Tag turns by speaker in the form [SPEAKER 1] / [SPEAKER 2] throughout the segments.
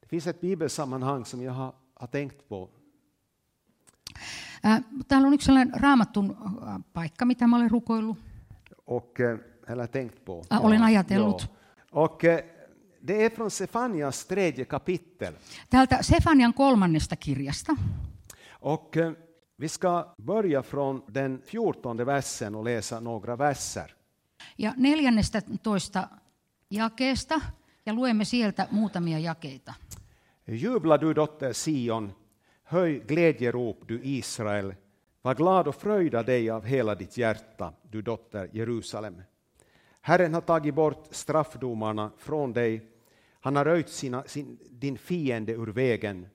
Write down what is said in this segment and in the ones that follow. [SPEAKER 1] Det finns ett bibelsammanhang som jag har, har tänkt på.
[SPEAKER 2] Ää, Täällä on yksi sellainen raamatun äh, paikka, mitä mä olen rukoillut.
[SPEAKER 1] Och, eh, eller tänkt på.
[SPEAKER 2] Ah, olen ajatellut.
[SPEAKER 1] Och, eh, det är från Sefanias tredje kapitel.
[SPEAKER 2] Täältä Sefanian kolmannesta kirjasta.
[SPEAKER 1] Och, eh, vi ska börja från den fjortonde versen och läsa några verser.
[SPEAKER 2] Ja neljännestä toista jakeesta, ja luemme sieltä muutamia jakeita.
[SPEAKER 1] Jubla du dotter Sion, höj glädjerop du Israel. Var glad och fröjda dig av hela ditt hjärta, du dotter Jerusalem. Herren har tagit bort straffdomarna från dig. Han har röjt sina, sin, din fiende ur vägen.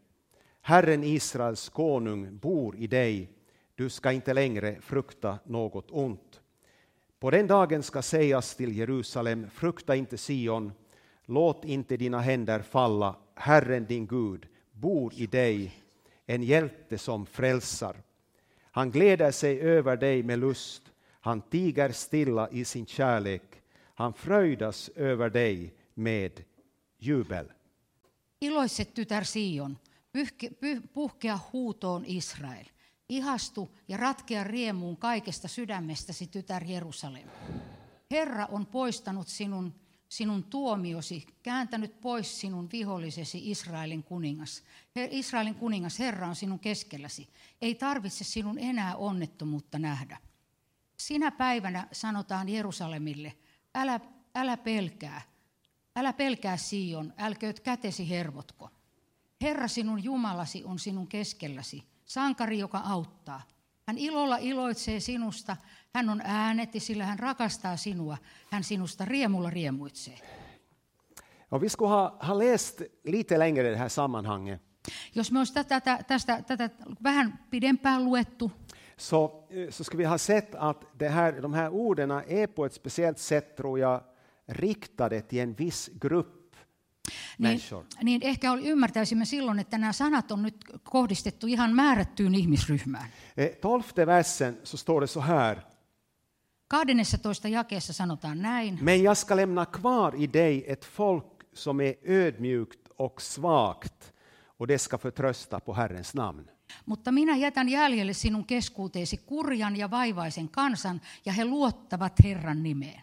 [SPEAKER 1] Herren Israels konung bor i dig. Du ska inte längre frukta något ont. På den dagen ska sägas till Jerusalem, frukta inte Sion, låt inte dina händer falla, Herren din Gud bor i dig, en hjälte som frälsar. Han gläder sig över dig med lust, han tiger stilla i sin kärlek, han fröjdas över dig med jubel.
[SPEAKER 2] Iloitse tytär Sion, pyhke, pyh, puhkea huutoon Israel. Ihastu ja ratkea riemuun kaikesta sydämestäsi tytär Jerusalem. Herra on poistanut sinun, sinun tuomiosi, kääntänyt pois sinun vihollisesi Israelin kuningas. Her, Israelin kuningas, Herra on sinun keskelläsi. Ei tarvitse sinun enää onnettomuutta nähdä. Sinä päivänä sanotaan Jerusalemille, älä, älä pelkää, älä pelkää Sion, älkööt kätesi hervotko. Herra sinun Jumalasi on sinun keskelläsi, sankari, joka auttaa. Hän ilolla iloitsee sinusta, hän on ääneti, sillä hän rakastaa sinua, hän sinusta riemulla riemuitsee.
[SPEAKER 1] Och vi skulle ha, ha läst lite längre i det här sammanhanget,
[SPEAKER 2] Jos me olisi tätä, tätä, tästä, tätä vähän pidempään luettu, niin-
[SPEAKER 1] så, eh, så skulle vi ha sett att det här, de här orden är på ett speciellt sätt, tror jag, riktade till en viss grupp
[SPEAKER 2] niin,
[SPEAKER 1] människor.
[SPEAKER 2] niin ehkä oli, ymmärtäisimme silloin, että nämä sanat on nyt kohdistettu ihan määrättyyn ihmisryhmään.
[SPEAKER 1] Eh, Tolfte versen så står det så här.
[SPEAKER 2] 12 jakeessa sanotaan näin.
[SPEAKER 1] Men jag ska lämna kvar i dig ett folk som är ödmjukt och svagt och det ska förtrösta på Herrens namn.
[SPEAKER 2] Mutta minä jätän jäljelle sinun keskuuteesi kurjan ja vaivaisen kansan, ja he luottavat Herran nimeen.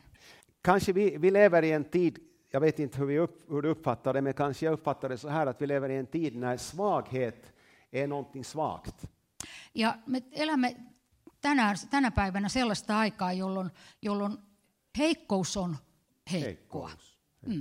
[SPEAKER 1] Kanske vi, vi lever i en tid, jag vet inte hur, vi upp, hur du uppfattar det, men kanske jag uppfattar det så här att vi lever i en tid när svaghet är någonting svagt.
[SPEAKER 2] Ja me elämme tänään, tänä päivänä sellaista aikaa, jolloin, jolloin heikkous on heikkoa.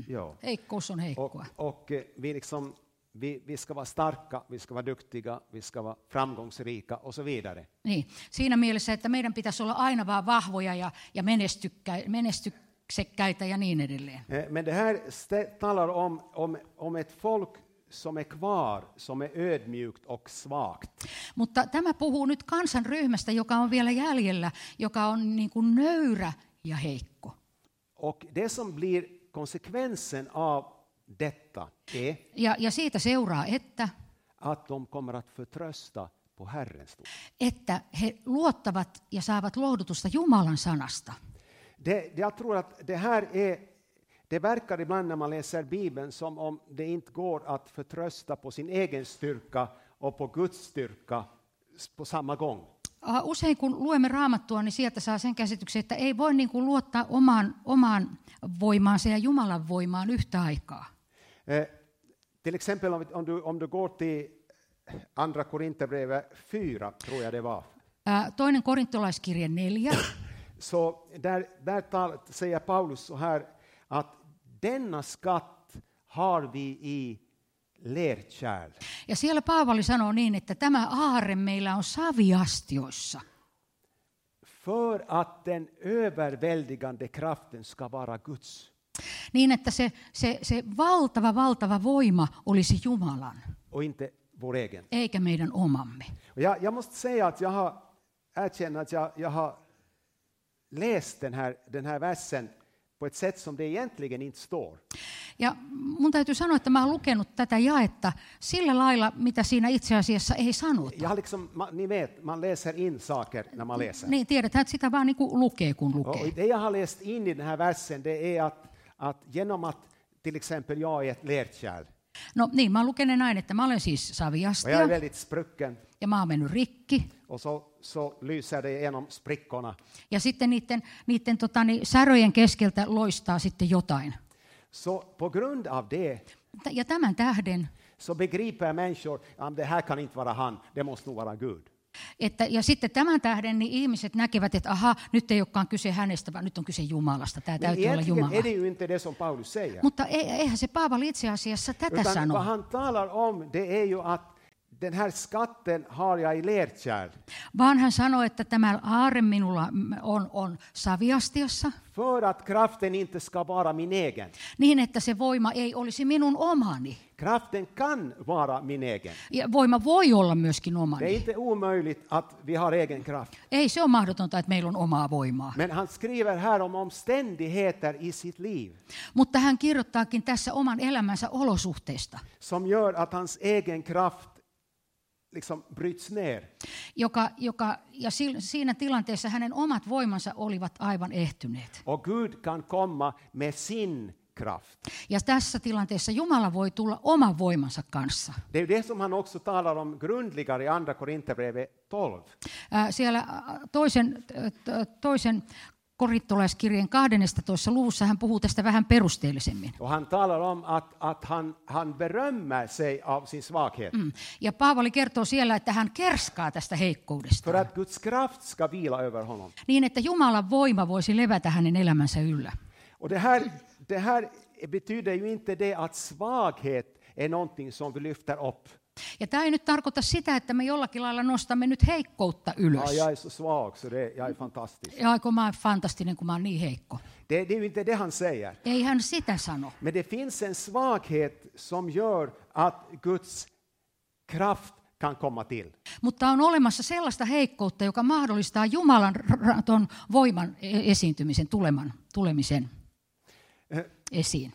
[SPEAKER 1] Ja.
[SPEAKER 2] Heikkous on
[SPEAKER 1] Och,
[SPEAKER 2] heikkoa.
[SPEAKER 1] och eh, vi, liksom, vi, vi ska vara starka, vi ska vara duktiga, vi ska vara framgångsrika och så vidare.
[SPEAKER 2] Niin. Siinä mielessä, että meidän pitäisi olla aina vaan vahvoja ja, ja menestykkä- menestyksekkäitä ja niin edelleen.
[SPEAKER 1] Eh, Men det här stä- talar om, om, om ett folk som är kvar, som är ödmjukt och svagt.
[SPEAKER 2] Mutta tämä puhuu nyt kansanryhmästä, joka on vielä jäljellä, joka on niin kuin nöyrä ja heikko.
[SPEAKER 1] Och det som blir konsekvensen av detta är
[SPEAKER 2] Ja, ja siitä seuraa, että,
[SPEAKER 1] att de kommer att förtrösta på Herrens ord.
[SPEAKER 2] että he luottavat ja saavat lohdutusta Jumalan sanasta.
[SPEAKER 1] Det, jag tror att det här är, det verkar ibland när man läser Bibeln som om det inte går att förtrösta på sin egen styrka och på Guds styrka s- på samma gång.
[SPEAKER 2] Äh, Usein kun luemme raamattua, niin sieltä saa sen käsityksen, että ei voi niin kuin luottaa omaan, omaan voimaansa ja Jumalan voimaan yhtä aikaa.
[SPEAKER 1] Eh, till exempel om, om, du, om du går till Andra Korinthierbrevet 4, tror jag det var,
[SPEAKER 2] Äh, Toinen korintolaiskirje neljä.
[SPEAKER 1] så där, där tal, säger Paulus så här att denna skatt har vi i lerkärl.
[SPEAKER 2] Ja siellä Paavali sanoo niin, että tämä aarre meillä on saviastioissa,
[SPEAKER 1] För att den överväldigande kraften ska vara Guds.
[SPEAKER 2] niin että se, se, se valtava, valtava voima olisi Jumalan,
[SPEAKER 1] och inte vår egen.
[SPEAKER 2] eikä meidän omamme.
[SPEAKER 1] Och jag, jag måste säga att jag har, erkänner att jag, jag har läst den här, den här versen på ett sätt som det egentligen inte står.
[SPEAKER 2] Ja mun täytyy sanoa, att mä oon lukenut tätä jaetta sillä lailla, mitä siinä itse asiassa ei sanota.
[SPEAKER 1] Jag har liksom, man, ni vet, man läser in saker när man läser.
[SPEAKER 2] Niin tiedetään, että sitä vaan niin kuin lukee, kun
[SPEAKER 1] Och
[SPEAKER 2] lukee.
[SPEAKER 1] det jag har läst in i den här versen det är att, att genom att till exempel jag är ett lerkärl
[SPEAKER 2] No niin, mä oon lukenut näin, että mä olen siis
[SPEAKER 1] Och
[SPEAKER 2] saviastia
[SPEAKER 1] jag är väldigt sprucken.
[SPEAKER 2] ja mä oon mennyt rikki.
[SPEAKER 1] Och så, så lyser det genom sprickorna.
[SPEAKER 2] Ja sitten niiden, niiden tota, niin, säröjen keskeltä loistaa sitten jotain.
[SPEAKER 1] Så på grund av det
[SPEAKER 2] T- Ja tämän tähden,
[SPEAKER 1] så begriper människor att det här kan inte vara han, det måste nog vara Gud.
[SPEAKER 2] että, ja sitten tämän tähden niin ihmiset näkevät, että aha, nyt ei olekaan kyse hänestä, vaan nyt on kyse Jumalasta. Tämä
[SPEAKER 1] Men
[SPEAKER 2] täytyy olla
[SPEAKER 1] egentligen
[SPEAKER 2] Jumala.
[SPEAKER 1] är det ju inte det som Paulus säger.
[SPEAKER 2] Mutta ei, eihän se Paavali itse asiassa tätä
[SPEAKER 1] Utan vad
[SPEAKER 2] sano,
[SPEAKER 1] han talar om det är ju att den här skatten har jag i lerkärl
[SPEAKER 2] vaan hän sanoi, että tämä aarre minulla mm, on, on saviastiassa,
[SPEAKER 1] för att kraften inte ska vara min egen.
[SPEAKER 2] niin että se voima ei olisi minun omani.
[SPEAKER 1] Kraften kan vara min egen.
[SPEAKER 2] Ja voima voi olla myöskin
[SPEAKER 1] Det är
[SPEAKER 2] omani.
[SPEAKER 1] inte omöjligt att vi har egen kraft.
[SPEAKER 2] Ei se ole mahdotonta, että meillä on omaa voimaa.
[SPEAKER 1] Men han skriver här om omständigheter i sitt liv
[SPEAKER 2] Mutta hän kirjoittaakin tässä oman elämänsä olosuhteista,
[SPEAKER 1] som gör att hans egen kraft liksom bryts ner.
[SPEAKER 2] joka, joka, ja si- siinä tilanteessa hänen omat voimansa olivat aivan ehtyneet.
[SPEAKER 1] Och Gud kan komma med sin kraft.
[SPEAKER 2] Ja tässä tilanteessa Jumala voi tulla oman voimansa kanssa.
[SPEAKER 1] Det är ju det som han också talar om grundligare i Andra Korinthierbrevet 12.
[SPEAKER 2] Ää, Siellä ää, toisen, t- t- toisen korittolaiskirjeen 12. luvussa hän puhuu tästä vähän perusteellisemmin.
[SPEAKER 1] Och han talar om att, att han, han berömmer sig av sin svaghet
[SPEAKER 2] Mm. Ja Paavali kertoo siellä, että hän kerskaa tästä heikkoudesta,
[SPEAKER 1] för att Guds kraft ska vila över honom.
[SPEAKER 2] niin että Jumalan voima voisi levätä hänen elämänsä yllä.
[SPEAKER 1] Och det här, det här betyder ju inte det att svaghet är någonting som vi lyfter upp.
[SPEAKER 2] Ja tämä ei nyt tarkoita sitä, että me jollakin lailla nostamme nyt heikkoutta
[SPEAKER 1] Ja,
[SPEAKER 2] ylös.
[SPEAKER 1] jag är så svag så det, jag är fantastisk.
[SPEAKER 2] Ja aiku, mä oon fantastinen, kun mä oon niin heikko.
[SPEAKER 1] Det, det är ju inte det han säger.
[SPEAKER 2] Ei hän sitä sano.
[SPEAKER 1] Men det finns en svaghet som gör att Guds kraft kan komma till.
[SPEAKER 2] Mutta on olemassa sellaista heikkoutta, joka mahdollistaa Jumalan ra- ton voiman e- esiintymisen, tuleman, tulemisen
[SPEAKER 1] Eh,
[SPEAKER 2] esiin.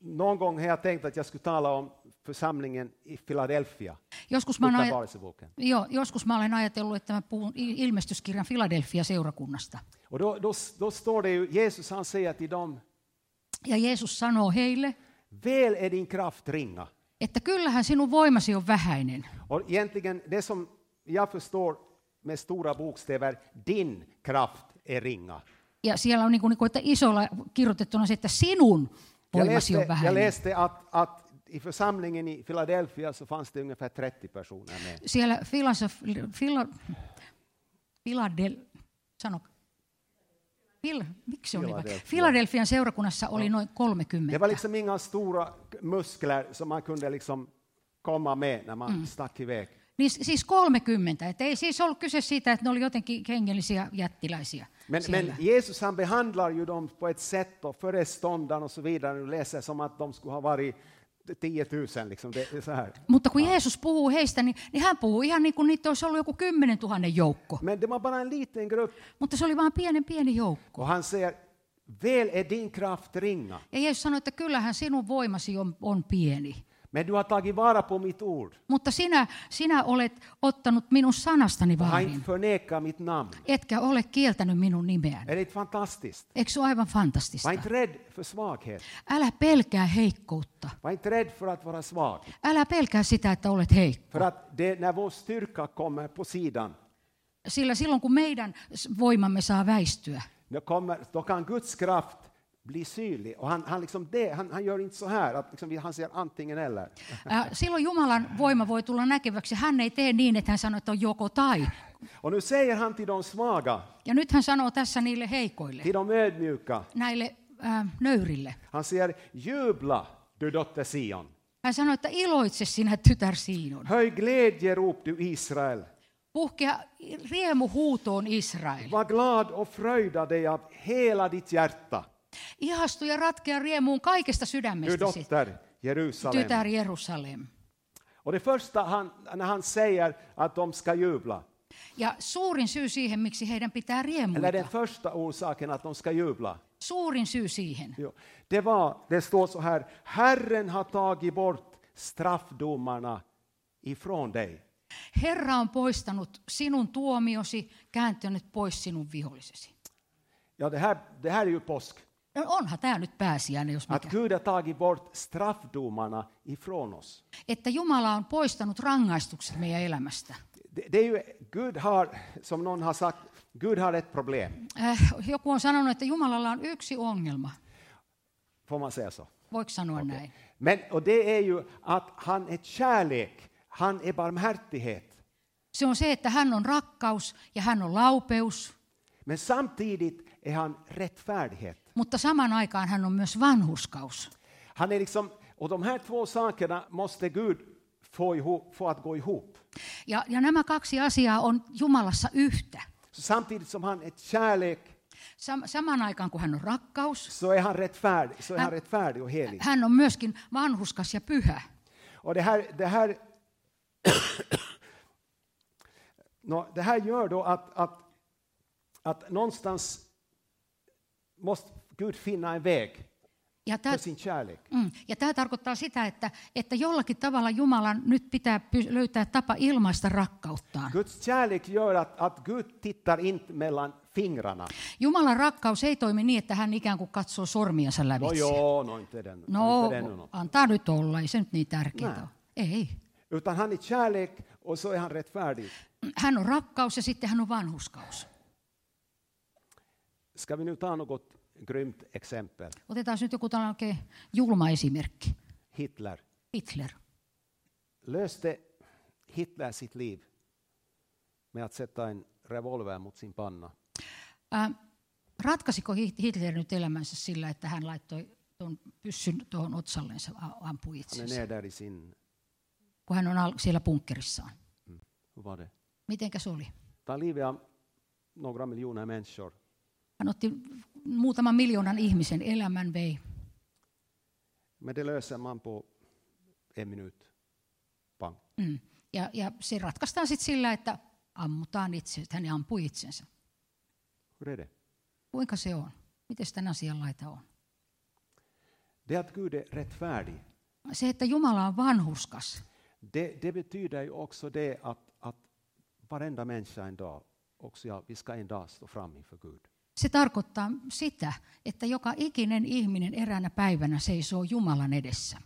[SPEAKER 1] Någon gång har jag tänkt att jag skulle tala om församlingen i Philadelphia,
[SPEAKER 2] Joskus mä, oon aj-
[SPEAKER 1] Uppenbarelseboken.
[SPEAKER 2] joo, joskus mä olen ajatellut, että mä puhun il- ilmestyskirjan Filadelfia-seurakunnasta.
[SPEAKER 1] Och då, då, då står det ju, Jesus han säger till dem,
[SPEAKER 2] Ja Jeesus sanoo heille,
[SPEAKER 1] väl är din kraft ringa.
[SPEAKER 2] että kyllähän sinun voimasi on vähäinen.
[SPEAKER 1] Och egentligen, det som jag förstår med stora bokstäver, din kraft är ringa.
[SPEAKER 2] Ja siellä on niin kuin, niin kuin, että isolla kirjoitettuna se, että sinun
[SPEAKER 1] Jag
[SPEAKER 2] voimasi on
[SPEAKER 1] läste, jag
[SPEAKER 2] vähäinen.
[SPEAKER 1] läste att, att i församlingen i Philadelphia så fanns det ungefär 30 personer med.
[SPEAKER 2] Siellä filosof, filo, Filadel, sano, Fil, miksi se oli
[SPEAKER 1] Philadelphia.
[SPEAKER 2] vaikka? Filadelfian seurakunnassa oli noin
[SPEAKER 1] Det
[SPEAKER 2] 30.
[SPEAKER 1] var liksom inga stora muskler som man kunde liksom komma med när man stack iväg.
[SPEAKER 2] Niin, siis 30. Et ei siis ollut kyse siitä, että ne oli jotenkin hengellisiä jättiläisiä.
[SPEAKER 1] Men,
[SPEAKER 2] siellä.
[SPEAKER 1] men Jesus han behandlar ju dem på ett sätt och föreståndaren och så vidare, du läser som att de skulle ha varit 10 000 liksom. Det är så här.
[SPEAKER 2] Mutta kun Jeesus puhuu heistä, niin, niin hän puhuu ihan niin kuin niitä olisi ollut joku 10 000 joukko.
[SPEAKER 1] Men det var bara en liten grupp
[SPEAKER 2] Mutta se oli vain pienen pieni joukko.
[SPEAKER 1] och han säger, väl är din kraft ringa,
[SPEAKER 2] Ja Jeesus sanoi, että kyllähän sinun voimasi on, on pieni.
[SPEAKER 1] men du har tagit vara på mitt ord
[SPEAKER 2] Mutta sinä, sinä olet ottanut minun sanastani
[SPEAKER 1] och har
[SPEAKER 2] vaarin.
[SPEAKER 1] inte förnekat mitt namn.
[SPEAKER 2] etkä ole kieltänyt minun nimeäni.
[SPEAKER 1] Är det inte fantastiskt?
[SPEAKER 2] Eikö se ole aivan fantastista?
[SPEAKER 1] Var inte rädd för svaghet.
[SPEAKER 2] Älä pelkää heikkoutta.
[SPEAKER 1] Var inte rädd för att vara svag.
[SPEAKER 2] Älä pelkää sitä, että olet heikko.
[SPEAKER 1] För att det, när vår styrka kommer på sidan,
[SPEAKER 2] Sillä silloin, kun meidän s- voimamme saa väistyä,
[SPEAKER 1] då, kommer, då kan Guds kraft bli synlig. Och han, han, liksom det, han, han gör inte så här, att liksom, vi- han säger antingen eller.
[SPEAKER 2] ää, silloin Jumalan voima voi tulla näkeväksi. Hän ei tee niin, että hän sanoo, että on joko tai.
[SPEAKER 1] Och nu säger han till de svaga,
[SPEAKER 2] Ja nyt hän sanoo tässä niille heikoille,
[SPEAKER 1] till de ödmjuka,
[SPEAKER 2] näille ää, nöyrille.
[SPEAKER 1] han säger jubla du dotter Sion.
[SPEAKER 2] Hän sanoo, että iloitse sinä tytär Siinon.
[SPEAKER 1] Höj glädjerop du Israel.
[SPEAKER 2] Puhkea riemuhuutoon Israel.
[SPEAKER 1] Var glad och fröjda dig av hela ditt hjärta,
[SPEAKER 2] Ihastu ja ratkea riemuun kaikesta
[SPEAKER 1] du
[SPEAKER 2] sydämestäsi,
[SPEAKER 1] dotter Jerusalem.
[SPEAKER 2] tytär Jerusalem.
[SPEAKER 1] Och det första han, när han säger att de ska jubla,
[SPEAKER 2] Ja suurin syy siihen, miksi heidän pitää riemuita,
[SPEAKER 1] eller den första orsaken att de ska jubla,
[SPEAKER 2] suurin syy siihen,
[SPEAKER 1] Jo, det, var, det står så här, Herren har tagit bort straffdomarna ifrån dig.
[SPEAKER 2] Herra on poistanut sinun tuomiosi, kääntynyt pois sinun vihollisesi.
[SPEAKER 1] Ja, det, här, det här är ju påsk.
[SPEAKER 2] No onhan tämä nyt pääsiäinen, jos
[SPEAKER 1] Att
[SPEAKER 2] mikä.
[SPEAKER 1] Gud har tagit bort straffdomarna ifrån oss.
[SPEAKER 2] Että Jumala on poistanut rangaistukset meidän elämästä.
[SPEAKER 1] Det, det är ju, Gud har, som någon har sagt, Gud har ett problem.
[SPEAKER 2] Äh, joku on sanonut, että Jumalalla on yksi ongelma.
[SPEAKER 1] Får man säga så?
[SPEAKER 2] Voiko sanoa okay. näin?
[SPEAKER 1] Men, och det är ju att han är kärlek, han är barmhärtighet.
[SPEAKER 2] Se on se, että hän on rakkaus ja hän on laupeus,
[SPEAKER 1] Men samtidigt är han rättfärdighet.
[SPEAKER 2] mutta saman aikaan hän on myös vanhuskaus.
[SPEAKER 1] Han är liksom, och de här två sakerna måste Gud få, ihop, få att gå ihop.
[SPEAKER 2] Ja, ja nämä kaksi asiaa on Jumalassa yhtä.
[SPEAKER 1] Så samtidigt som han är kärlek
[SPEAKER 2] Sam, saman aikaan kun hän on rakkaus,
[SPEAKER 1] så är han rättfärdig, så är han
[SPEAKER 2] Han-
[SPEAKER 1] rättfärdig och helig.
[SPEAKER 2] hän on myöskin vanhuskas ja pyhä.
[SPEAKER 1] Och det här, det här, Nå, det här gör då att, att, att någonstans måste Gud finna en väg
[SPEAKER 2] Ja tämä,
[SPEAKER 1] för sin kärlek.
[SPEAKER 2] mm, ja tämä tarkoittaa sitä, että, että jollakin tavalla Jumalan nyt pitää py- löytää tapa ilmaista rakkauttaan.
[SPEAKER 1] Guds kärlek gör att, att Gud tittar inte mellan fingrarna.
[SPEAKER 2] Jumalan rakkaus ei toimi niin, että hän ikään kuin katsoo sormiansa
[SPEAKER 1] No
[SPEAKER 2] lävitse.
[SPEAKER 1] joo, no inte den.
[SPEAKER 2] No,
[SPEAKER 1] inte den nu, no.
[SPEAKER 2] antaa nyt olla, ei se nyt niin tärkeää
[SPEAKER 1] Näin.
[SPEAKER 2] ole. Ei.
[SPEAKER 1] Utan han är kärlek och så är han rättfärdig.
[SPEAKER 2] Hän on rakkaus ja sitten hän on vanhuskaus.
[SPEAKER 1] Ska vi nu ta något grymt exempel?
[SPEAKER 2] Otetaan nyt joku tällainen oikein julma esimerkki.
[SPEAKER 1] Hitler.
[SPEAKER 2] Hitler.
[SPEAKER 1] Löste Hitler sitt liv med att sätta en revolver mot sin panna?
[SPEAKER 2] Ää, ratkaisiko Hi- Hitler nyt elämänsä sillä, että hän laittoi tuon pyssyn tuohon otsallensa a- ampui
[SPEAKER 1] Han är
[SPEAKER 2] itsensä,
[SPEAKER 1] ner där i sin...
[SPEAKER 2] kun hän on al- siellä bunkkerissaan?
[SPEAKER 1] Hur var det?
[SPEAKER 2] Mitenkä se oli?
[SPEAKER 1] Ta livet av några miljoner människor.
[SPEAKER 2] Hän otti muutaman miljoonan ihmisen elämän vei.
[SPEAKER 1] Men det löser man på en minut. Pang.
[SPEAKER 2] Mm. Ja, ja se ratkaistaan sitten sillä, että ammutaan itse, että hän ampui itsensä.
[SPEAKER 1] Hur är det?
[SPEAKER 2] Kuinka se on? Miten tämän asian laita on?
[SPEAKER 1] Det att Gud är rättfärdig,
[SPEAKER 2] Se, että Jumala on vanhuskas.
[SPEAKER 1] det, det betyder ju också det att, att varenda människa en dag, också jag, vi ska en dag stå fram inför Gud.
[SPEAKER 2] Se tarkoittaa sitä, että joka ikinen ihminen eräänä päivänä seisoo Jumalan edessä.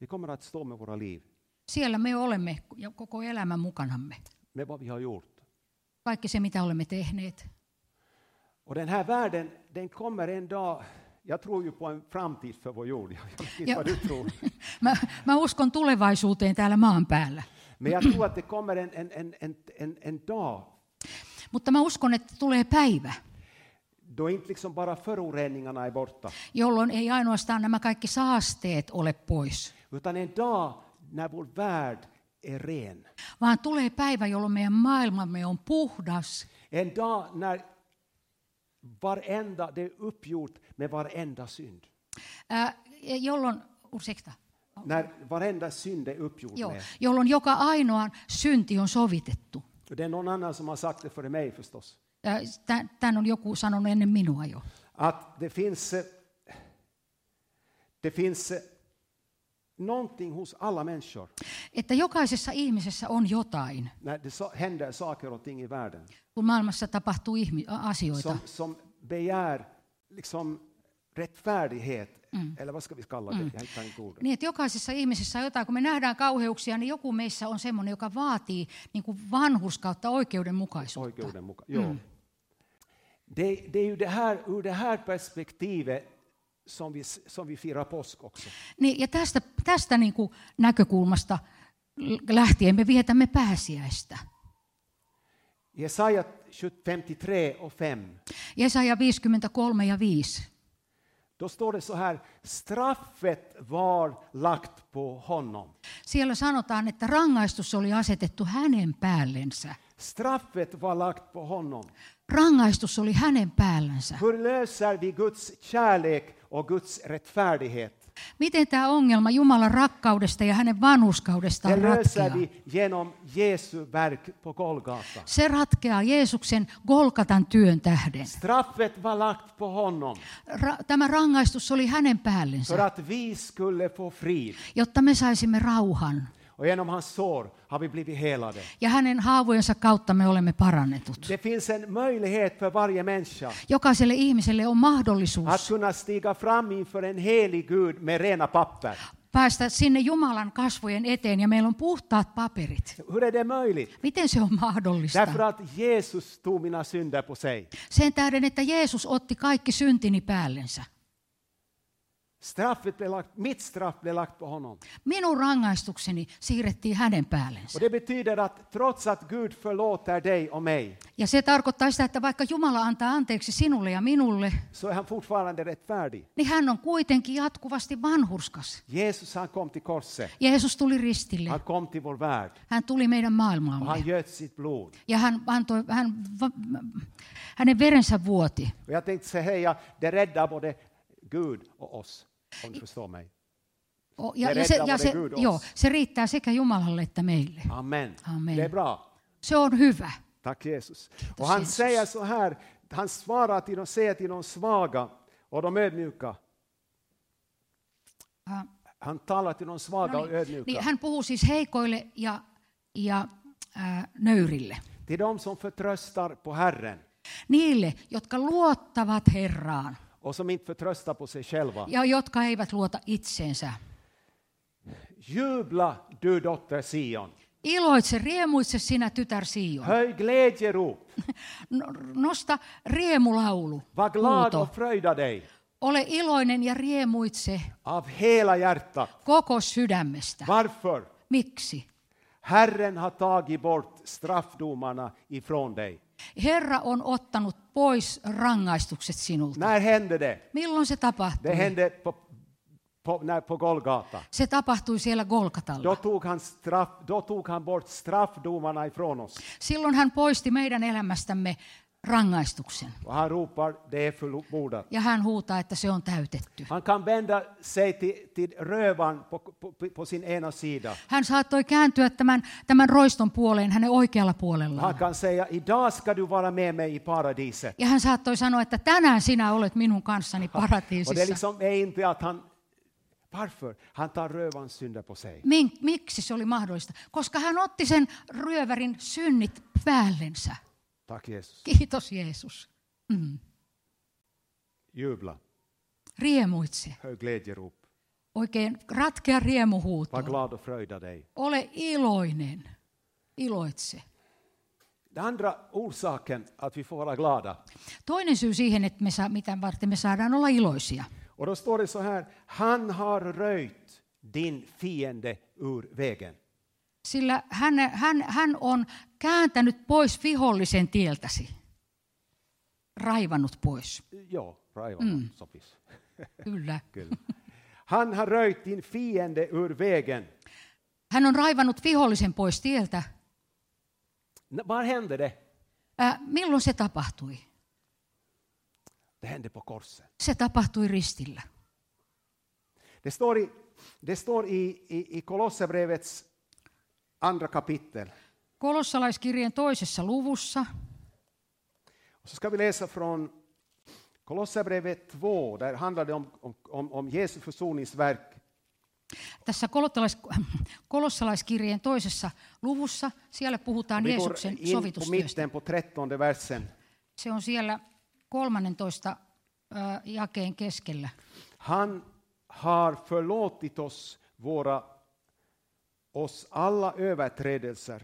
[SPEAKER 1] Vi kommer att stå med våra liv,
[SPEAKER 2] Siellä me olemme ja koko elämän mukanamme.
[SPEAKER 1] med vad vi har gjort.
[SPEAKER 2] Kaikki se, mitä olemme tehneet.
[SPEAKER 1] Och den här världen, den kommer en dag, jag tror ju på en framtid för vår jord, jag vet inte
[SPEAKER 2] Ja.
[SPEAKER 1] vad du tror.
[SPEAKER 2] Mä, mä uskon tulevaisuuteen täällä maan päällä.
[SPEAKER 1] Men jag tror att det kommer en, en, en, en, en, en dag
[SPEAKER 2] Mutta mä uskon, että tulee päivä,
[SPEAKER 1] då inte liksom bara föroreningarna är borta,
[SPEAKER 2] jolloin ei ainoastaan nämä kaikki saasteet ole pois,
[SPEAKER 1] utan en dag när vår värld är ren.
[SPEAKER 2] vaan tulee päivä, jolloin meidän maailmamme on puhdas.
[SPEAKER 1] En dag när varenda, det är uppgjort med varenda synd.
[SPEAKER 2] Ää, jolloin, ursäkta,
[SPEAKER 1] När varenda synd är uppgjord
[SPEAKER 2] Joo,
[SPEAKER 1] med.
[SPEAKER 2] jolloin joka ainoan synti on sovitettu.
[SPEAKER 1] Och Det är någon annan som har sagt det före mig förstås.
[SPEAKER 2] Tämän on joku sanonut ennen minua jo.
[SPEAKER 1] att det finns, eh, det finns eh, någonting hos alla människor
[SPEAKER 2] Että jokaisessa ihmisessä on jotain,
[SPEAKER 1] när det sa- händer saker och ting i världen
[SPEAKER 2] kun maailmassa tapahtuu ihmi- a- asioita,
[SPEAKER 1] som, som begär liksom rättfärdighet, eller vad ska vi kalla det? Jag hittar inte ordet.
[SPEAKER 2] niin että jokaisessa ihmisessä on jotain. Kun me nähdään kauheuksia, niin joku meissä on semmoinen, joka vaatii niin kuin vanhuskautta oikeudenmukaisuutta.
[SPEAKER 1] Oikeuden muka- Jo. Det, det är ju det här, ur det här perspektivet som vi, s- som vi firar påsk också.
[SPEAKER 2] Niin, ja tästä, tästä niin kuin näkökulmasta l- lähtien me vietämme pääsiäistä.
[SPEAKER 1] Jesaja 53 och 5.
[SPEAKER 2] Jesaja 53 ja 5.
[SPEAKER 1] Då står det så här, straffet var lagt på honom.
[SPEAKER 2] Siellä sanotaan, että rangaistus oli asetettu hänen päällensä.
[SPEAKER 1] Straffet var lagt på honom.
[SPEAKER 2] Rangaistus oli hänen päällänsä.
[SPEAKER 1] Hur löser vi Guds kärlek och Guds rättfärdighet?
[SPEAKER 2] Miten tämä ongelma Jumalan rakkaudesta ja hänen vanhuskaudestaan
[SPEAKER 1] Det
[SPEAKER 2] ratkeaa?
[SPEAKER 1] löser vi genom Jesu verk på Golgata.
[SPEAKER 2] Se ratkeaa Jeesuksen Golkatan työn tähden.
[SPEAKER 1] Straffet var lagt på honom
[SPEAKER 2] Ra- Tämä rangaistus oli hänen
[SPEAKER 1] för
[SPEAKER 2] päällensä,
[SPEAKER 1] att vi skulle få frid.
[SPEAKER 2] jotta me saisimme rauhan.
[SPEAKER 1] Och genom hans sår har vi blivit helade.
[SPEAKER 2] Ja hänen haavojensa kautta me olemme parannetut.
[SPEAKER 1] Det finns en möjlighet för varje människa
[SPEAKER 2] Jokaiselle ihmiselle on
[SPEAKER 1] att
[SPEAKER 2] mahdollisuus
[SPEAKER 1] kunna stiga fram inför en helig Gud med rena papper.
[SPEAKER 2] päästä sinne Jumalan kasvojen eteen ja meillä on puhtaat paperit.
[SPEAKER 1] Hur är det möjligt?
[SPEAKER 2] Miten se on mahdollista?
[SPEAKER 1] Därför att Jesus tog mina synder på sig.
[SPEAKER 2] Sen tähden, että Jeesus otti kaikki syntini päällensä.
[SPEAKER 1] Straffet blev lagt, mitt straff blev lagt på honom.
[SPEAKER 2] Minun rangaistukseni siirrettiin hänen päällensä.
[SPEAKER 1] Och det betyder att trots att Gud förlåter dig och mig
[SPEAKER 2] Ja se tarkoittaa sitä, että vaikka Jumala antaa anteeksi sinulle ja minulle,
[SPEAKER 1] så är han fortfarande rättfärdig.
[SPEAKER 2] niin hän on kuitenkin jatkuvasti vanhurskas.
[SPEAKER 1] Jesus han kom till korset,
[SPEAKER 2] Jeesus tuli ristille.
[SPEAKER 1] han kom till vår värld
[SPEAKER 2] Hän tuli meidän
[SPEAKER 1] och han
[SPEAKER 2] maailmaamme.
[SPEAKER 1] göt sitt blod.
[SPEAKER 2] Ja hän antoi, hän, va, hänen verensä vuoti.
[SPEAKER 1] Och jag tänkte säga, det räddar både Gud och oss, om du förstår mig.
[SPEAKER 2] O- Ja,
[SPEAKER 1] Ja
[SPEAKER 2] ja, se, ja
[SPEAKER 1] reddade
[SPEAKER 2] se,
[SPEAKER 1] Gud oss.
[SPEAKER 2] joo, se riittää sekä Jumalalle että meille.
[SPEAKER 1] Amen.
[SPEAKER 2] Amen.
[SPEAKER 1] Det är bra.
[SPEAKER 2] Se on hyvä.
[SPEAKER 1] Tack Jesus. Och han
[SPEAKER 2] Jesus.
[SPEAKER 1] säger så här, han svarar till de, säger till de svaga och de ödmjuka.
[SPEAKER 2] Ah,
[SPEAKER 1] Han talar till de svaga
[SPEAKER 2] no
[SPEAKER 1] och
[SPEAKER 2] niin,
[SPEAKER 1] ödmjuka.
[SPEAKER 2] niin, hän puhuu siis heikoille ja, ja äh, nöyrille.
[SPEAKER 1] Till de som förtröstar på Herren
[SPEAKER 2] Niille, jotka luottavat Herraan
[SPEAKER 1] och som inte förtröstar på sig själva.
[SPEAKER 2] ja jotka eivät luota itseensä.
[SPEAKER 1] Jubla du dotter Sion.
[SPEAKER 2] Iloitse, riemuitse sinä tytär Sion.
[SPEAKER 1] Höj glädjerop.
[SPEAKER 2] No- Nosta riemulaulu.
[SPEAKER 1] Var glad
[SPEAKER 2] huuto.
[SPEAKER 1] och fröjda dig
[SPEAKER 2] Ole iloinen ja riemuitse
[SPEAKER 1] av hela hjärtat.
[SPEAKER 2] koko sydämestä.
[SPEAKER 1] Varför?
[SPEAKER 2] Miksi?
[SPEAKER 1] Herren har tagit bort straffdomarna ifrån dig.
[SPEAKER 2] Herra on ottanut pois rangaistukset sinulta.
[SPEAKER 1] När hände det?
[SPEAKER 2] Milloin se tapahtui?
[SPEAKER 1] Det hände på, på, när, på Golgata.
[SPEAKER 2] Se tapahtui siellä
[SPEAKER 1] Då
[SPEAKER 2] Golgatalla.
[SPEAKER 1] tog, han straff, då tog han bort straffdomarna ifrån oss.
[SPEAKER 2] Silloin hän poisti meidän elämästämme rangaistuksen.
[SPEAKER 1] Och han ropar, det är fullbordat.
[SPEAKER 2] Ja hän huutaa, että se on täytetty.
[SPEAKER 1] Han kan vända sig till, till rövaren på, på, på sin ena sida.
[SPEAKER 2] Hän saattoi kääntyä tämän, tämän roiston puoleen hänen oikealla
[SPEAKER 1] Han
[SPEAKER 2] puolellaan.
[SPEAKER 1] kan säga, idag ska du vara med mig i paradiset.
[SPEAKER 2] Ja hän saattoi sanoa, että tänään sinä olet minun kanssani
[SPEAKER 1] Och det
[SPEAKER 2] paratiisissa.
[SPEAKER 1] liksom är inte att han... Varför? Han tar rövarens synder på sig.
[SPEAKER 2] Min, miksi se oli mahdollista? Koska hän otti sen ryövärin synnit päällensä.
[SPEAKER 1] Tack Jesus.
[SPEAKER 2] Kiitos Jeesus. Mm.
[SPEAKER 1] Jubla,
[SPEAKER 2] Riemuitse.
[SPEAKER 1] höj glädjerop.
[SPEAKER 2] Oikein ratkea riemuhuuto.
[SPEAKER 1] Var glad och fröjda dig.
[SPEAKER 2] Ole iloinen. Iloitse.
[SPEAKER 1] Den andra orsaken att vi får vara glada.
[SPEAKER 2] Toinen syy siihen, että me saa, mitä varten me saadaan olla iloisia.
[SPEAKER 1] Och då står det så här. Han har röjt din fiende ur vägen.
[SPEAKER 2] Sillä hän, hän, hän on kääntänyt pois vihollisen tieltäsi. Raivannut pois.
[SPEAKER 1] Ja, raivan mm. sopis.
[SPEAKER 2] Kyllä.
[SPEAKER 1] Kyllä. Han har röjt din fiende ur vägen.
[SPEAKER 2] Hän on raivannut vihollisen pois tieltä.
[SPEAKER 1] N- Var hände det?
[SPEAKER 2] Äh, milloin se tapahtui?
[SPEAKER 1] Det hände på korset.
[SPEAKER 2] Se tapahtui ristillä.
[SPEAKER 1] Det står i, det står i, i, i Kolosserbrevets andra kapitel.
[SPEAKER 2] Kolossalaiskirjeen toisessa luvussa,
[SPEAKER 1] Och så ska vi läsa från Kolosserbrevet 2, där handlar det om, om, om, om Jesu försoningsverk.
[SPEAKER 2] tässä kolottalais- kolossalaiskirjeen toisessa luvussa, siellä
[SPEAKER 1] Och
[SPEAKER 2] puhutaan
[SPEAKER 1] vi går
[SPEAKER 2] Jeesuksen
[SPEAKER 1] in på
[SPEAKER 2] sovitustyöstä.
[SPEAKER 1] mitten på trettonde versen.
[SPEAKER 2] Se on siellä 13 ö, jakeen keskellä.
[SPEAKER 1] Han har förlåtit oss våra oss alla överträdelser.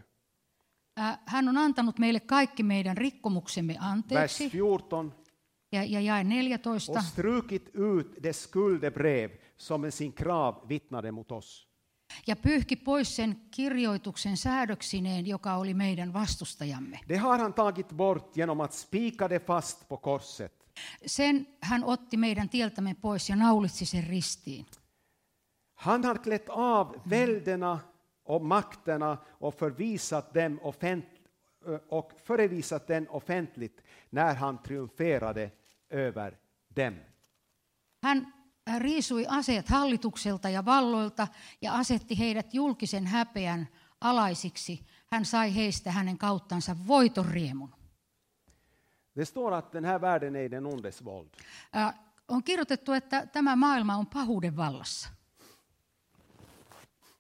[SPEAKER 2] Ö, Hän on antanut meille kaikki meidän rikkomuksemme
[SPEAKER 1] Vers
[SPEAKER 2] anteeksi.
[SPEAKER 1] 14.
[SPEAKER 2] Ja, ja jae 14.
[SPEAKER 1] Och strukit ut det skuldebrev som med sin krav vittnade mot oss.
[SPEAKER 2] Ja pyyhki pois sen kirjoituksen säädöksineen, joka oli meidän vastustajamme.
[SPEAKER 1] Det har han tagit bort genom att spika det fast på korset.
[SPEAKER 2] Sen hän otti meidän tieltämme pois ja naulitsi sen ristiin.
[SPEAKER 1] Han har klätt av väldena och makterna och förvisat dem offent- och förevisat den offentligt när han triumferade över dem.
[SPEAKER 2] Hän äh, riisui aseet hallitukselta ja valloilta ja asetti heidät julkisen häpeän alaisiksi. Hän sai heistä hänen kauttansa voitoriemun.
[SPEAKER 1] Det står att den här världen är i den ondes våld.
[SPEAKER 2] Äh, on kirjoitettu, että tämä maailma on pahuuden vallassa.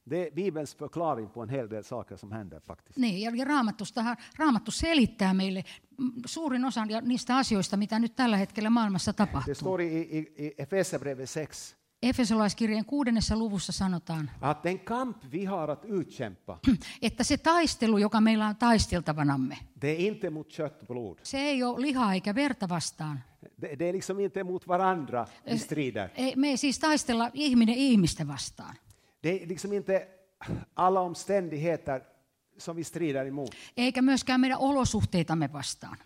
[SPEAKER 1] Det är Bibelns förklaring på en hel del saker som händer faktiskt.
[SPEAKER 2] Niin, ja Raamattustahan, Raamattu selittää meille mm, suurin osan ja niistä asioista, mitä nyt tällä hetkellä maailmassa
[SPEAKER 1] Det
[SPEAKER 2] tapahtuu.
[SPEAKER 1] står i, i, i Efesierbrevet 6
[SPEAKER 2] Efesolaiskirjeen kuudennessa luvussa sanotaan,
[SPEAKER 1] att den kamp vi har att utkämpa,
[SPEAKER 2] että se taistelu, joka meillä on taisteltavanamme,
[SPEAKER 1] det är inte mot kött och blod.
[SPEAKER 2] se ei ole lihaa eikä verta vastaan.
[SPEAKER 1] Det, det är liksom inte mot varandra vi strider.
[SPEAKER 2] Ei, me ei siis taistella ihminen ihmistä vastaan.
[SPEAKER 1] Det är liksom inte alla omständigheter som vi strider emot.
[SPEAKER 2] Eikä myöskään meidän olosuhteitamme vastaan.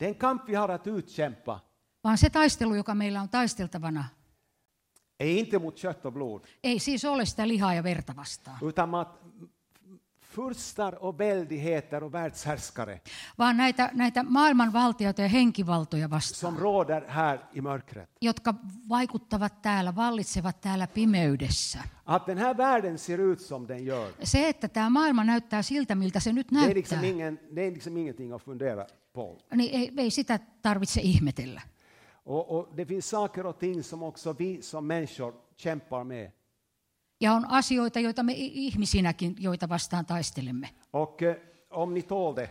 [SPEAKER 1] Den kamp vi har att utkämpa
[SPEAKER 2] Vaan se taistelu, joka meillä on taisteltavana,
[SPEAKER 1] är inte mot kött och blod,
[SPEAKER 2] ei siis ole sitä lihaa ja verta vastaan.
[SPEAKER 1] utan mot furstar och väldigheter och världshärskare
[SPEAKER 2] Vaan näitä, näitä maailman valtioita ja henkivaltoja vastaan.
[SPEAKER 1] som råder här i mörkret.
[SPEAKER 2] jotka vaikuttavat täällä, vallitsevat täällä pimeydessä.
[SPEAKER 1] Att den här världen ser ut som den gör,
[SPEAKER 2] Se, että tämä maailma näyttää siltä, miltä se nyt
[SPEAKER 1] det är,
[SPEAKER 2] näyttää,
[SPEAKER 1] liksom ingen, det är liksom ingenting att fundera på.
[SPEAKER 2] niin ei, ei sitä tarvitse ihmetellä.
[SPEAKER 1] Och, och det finns saker och ting som också vi som människor kämpar med.
[SPEAKER 2] Ja on asioita, joita me i- ihmisinäkin, joita vastaan taistelemme.
[SPEAKER 1] Och eh, om ni tål det,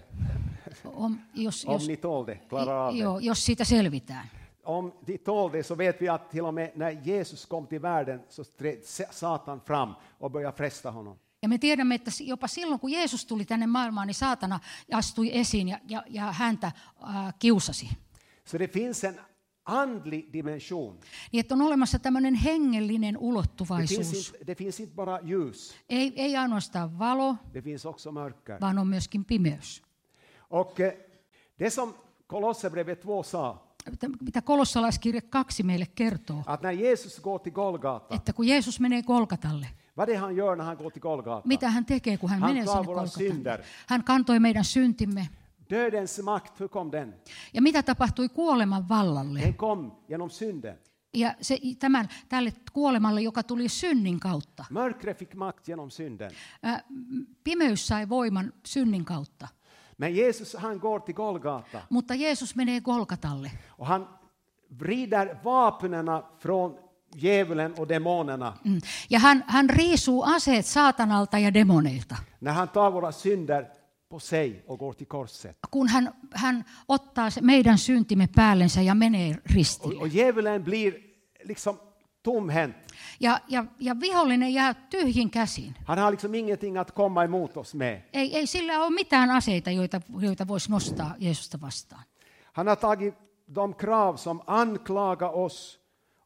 [SPEAKER 2] On, jos,
[SPEAKER 1] om
[SPEAKER 2] jos,
[SPEAKER 1] ni tål det, klarar av det.
[SPEAKER 2] joo, jos siitä selvitään.
[SPEAKER 1] Om ni tål det så vet vi att till och med när Jesus kom till världen så trädde Satan fram och började fresta honom.
[SPEAKER 2] Ja me tiedämme, että si- jopa silloin, kun Jeesus tuli tänne maailmaan, niin saatana astui esiin ja, ja, ja häntä äh, kiusasi.
[SPEAKER 1] Så det finns en andlig dimension.
[SPEAKER 2] Niin, että on olemassa tämmöinen hengellinen
[SPEAKER 1] Det finns,
[SPEAKER 2] ulottuvaisuus.
[SPEAKER 1] inte, det finns inte bara ljus,
[SPEAKER 2] Ei, ei ainoastaan valo,
[SPEAKER 1] det finns också mörker.
[SPEAKER 2] vaan on myöskin pimeys.
[SPEAKER 1] Och eh, det som Kolosserbrevet 2 sa,
[SPEAKER 2] Mitä- Mitä kolossalaiskirja 2 meille kertoo,
[SPEAKER 1] att när Jesus går till Golgata,
[SPEAKER 2] että kun Jeesus menee Kolkatalle,
[SPEAKER 1] vad det är han gör när han går till Golgata?
[SPEAKER 2] mitä hän tekee, kun hän,
[SPEAKER 1] Hän
[SPEAKER 2] menee sinne
[SPEAKER 1] kaivoi synder.
[SPEAKER 2] Kolkatalle? Hän kantoi meidän syntimme.
[SPEAKER 1] Dödens makt, hur kom den?
[SPEAKER 2] Ja mitä tapahtui kuoleman vallalle?
[SPEAKER 1] Den kom genom synden.
[SPEAKER 2] Ja se, tämän, tälle kuolemalle, joka tuli synnin kautta.
[SPEAKER 1] Mörkret fick makt genom synden.
[SPEAKER 2] Ää, m- Pimeys sai voiman synnin kautta.
[SPEAKER 1] Men Jesus han går till Golgata
[SPEAKER 2] Mutta Jeesus menee Kolkatalle.
[SPEAKER 1] och han vrider vapnen från djävulen och demonerna
[SPEAKER 2] Mm. Ja hän, hän riisuu aseet saatanalta ja demoneilta.
[SPEAKER 1] när han tar våra synder på sig och går till korset.
[SPEAKER 2] Kun hän, hän ottaa se meidän syntimme päällensä ja menee ristiin.
[SPEAKER 1] Och, och djävulen blir liksom tomhänt.
[SPEAKER 2] Ja, ja, ja vihollinen jää tyhjin käsin.
[SPEAKER 1] Han har liksom ingenting att komma emot oss med.
[SPEAKER 2] Ei, ei sillä ole mitään aseita, joita, joita voisi nostaa Jeesusta vastaan.
[SPEAKER 1] Han har tagit de krav som anklagar oss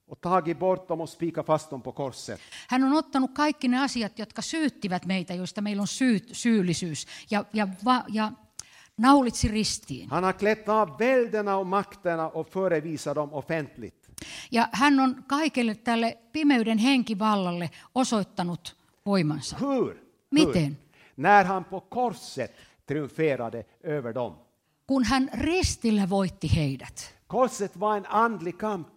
[SPEAKER 1] och tagit bort dem och spikat fast dem på korset.
[SPEAKER 2] Hän on ottanut kaikki ne asiat, jotka syyttivät meitä, joista meillä on syyt, syyllisyys, ja, ja, va, ja naulitsi ristiin.
[SPEAKER 1] Han har klätt av välderna och makterna och förevisar dem offentligt.
[SPEAKER 2] Ja hän on kaikelle tälle pimeyden henkivallalle osoittanut voimansa.
[SPEAKER 1] Hur? Hur?
[SPEAKER 2] Miten?
[SPEAKER 1] När han på korset triumferade över dem.
[SPEAKER 2] Kun hän ristillä voitti heidät.
[SPEAKER 1] Korset var en andlig kamp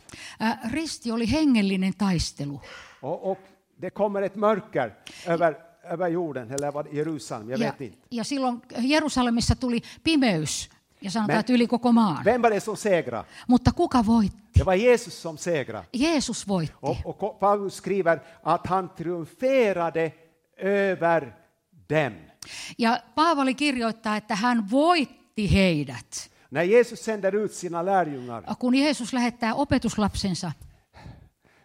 [SPEAKER 2] Ää, Risti oli hengellinen taistelu.
[SPEAKER 1] och, och det kommer ett mörker över, över jorden, eller vad, Jerusalem, jag
[SPEAKER 2] Ja,
[SPEAKER 1] vet inte.
[SPEAKER 2] ja silloin Jerusalemissa tuli pimeys, ja sanotaan,
[SPEAKER 1] Me-
[SPEAKER 2] Me... että yli koko maan. Me...
[SPEAKER 1] Vem var det som segrade?
[SPEAKER 2] Mutta kuka voitti?
[SPEAKER 1] Det var Jesus som segrade.
[SPEAKER 2] Jeesus voitti.
[SPEAKER 1] Och, och Ko- Paulus skriver att han triumferade över dem.
[SPEAKER 2] Ja Paavali kirjoittaa, että hän voitti heidät.
[SPEAKER 1] När Jesus sänder ut sina lärjungar,
[SPEAKER 2] Kun Jeesus lähettää opetuslapsensa,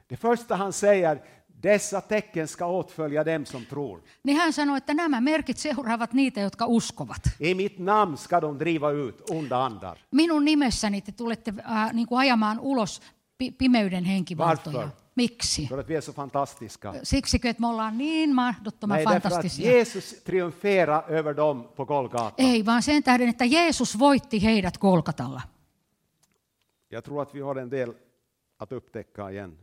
[SPEAKER 1] det första han säger, dessa tecken ska åtfölja dem som tror.
[SPEAKER 2] niin hän sanoi, että nämä merkit seuraavat niitä, jotka uskovat.
[SPEAKER 1] I mitt namn ska de driva ut onda andar.
[SPEAKER 2] Minun nimessäni te tulette äh, niin kuin ajamaan ulos pi- pimeyden henkivaltoja.
[SPEAKER 1] Varför?
[SPEAKER 2] Miksi?
[SPEAKER 1] För att vi är så fantastiska.
[SPEAKER 2] Siksikö, että me ollaan niin mahdottoman
[SPEAKER 1] Nej, därför att
[SPEAKER 2] fantastisia.
[SPEAKER 1] Jesus triumferade över dem på Golgata.
[SPEAKER 2] Ei, vaan sen tähden, että Jeesus voitti heidät Kolkatalla.
[SPEAKER 1] Jag tror att vi har en del att upptäcka igen.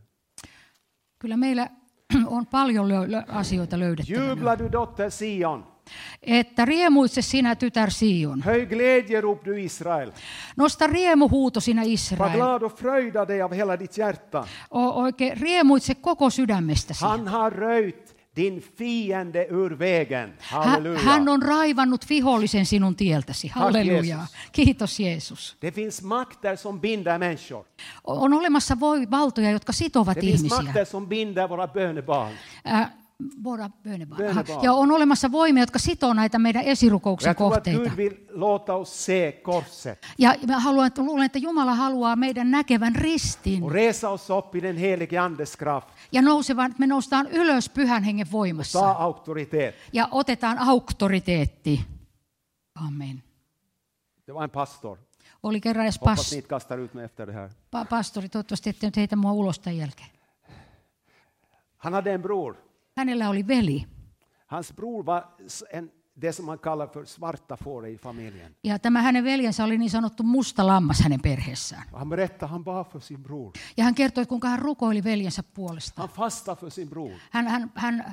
[SPEAKER 2] Kyllä meillä on paljon lö- lö- asioita löydettävänä.
[SPEAKER 1] Jubla du dotter Sion,
[SPEAKER 2] Että riemuitse sinä, tytär Sion.
[SPEAKER 1] höj glädjerop du Israel.
[SPEAKER 2] Nosta riemuhuuto sinä,
[SPEAKER 1] Var
[SPEAKER 2] Israel.
[SPEAKER 1] glad och fröjda dig av hela ditt hjärta.
[SPEAKER 2] O- oikein riemuitse koko sydämestäsi.
[SPEAKER 1] Han har röjt din fiende ur vägen.
[SPEAKER 2] Hän, hän
[SPEAKER 1] Halleluja.
[SPEAKER 2] on raivannut vihollisen sinun tieltäsi. Halleluja.
[SPEAKER 1] Jeesus.
[SPEAKER 2] Kiitos Jeesus.
[SPEAKER 1] Det finns makter som binder människor.
[SPEAKER 2] O- On olemassa voi valtoja, jotka sitovat
[SPEAKER 1] Det finns
[SPEAKER 2] ihmisiä.
[SPEAKER 1] makter som binder våra bönebarn.
[SPEAKER 2] Ä, Våra bönebarn.
[SPEAKER 1] Bönebarn.
[SPEAKER 2] Aha. Ja on olemassa voimia, jotka sitoo näitä meidän
[SPEAKER 1] Och jag
[SPEAKER 2] esirukouksen
[SPEAKER 1] tror att Gud
[SPEAKER 2] kohteita.
[SPEAKER 1] vill låta oss se korset
[SPEAKER 2] Ja mä haluan, että luulen, että Jumala haluaa meidän näkevän ristin
[SPEAKER 1] och resa oss upp i den helige Andes kraft.
[SPEAKER 2] ja nousevan, että me noustaan ylös pyhän hengen voimassa
[SPEAKER 1] Ta auktoritet.
[SPEAKER 2] ja otetaan auktoriteetti. Amen.
[SPEAKER 1] Det var en pastor.
[SPEAKER 2] Oli kerran edes
[SPEAKER 1] Hoppas ni
[SPEAKER 2] pas,
[SPEAKER 1] inte kastar ut mig efter det här.
[SPEAKER 2] pa, pastori, toivottavasti ette nyt heitä mua ulos tämän jälkeen.
[SPEAKER 1] Han hade en bror.
[SPEAKER 2] Hänellä oli veli
[SPEAKER 1] Hans bror var s- en, det som man kallar för svarta fåret i familjen.
[SPEAKER 2] ja tämä hänen veljensä oli niin sanottu musta lammas hänen perheessään.
[SPEAKER 1] Och Han berättade, han bad för sin bror.
[SPEAKER 2] Ja hän kertoi, kuinka hän rukoili veljensä puolesta.
[SPEAKER 1] Han fastade för sin bror.
[SPEAKER 2] Hän, hän, hän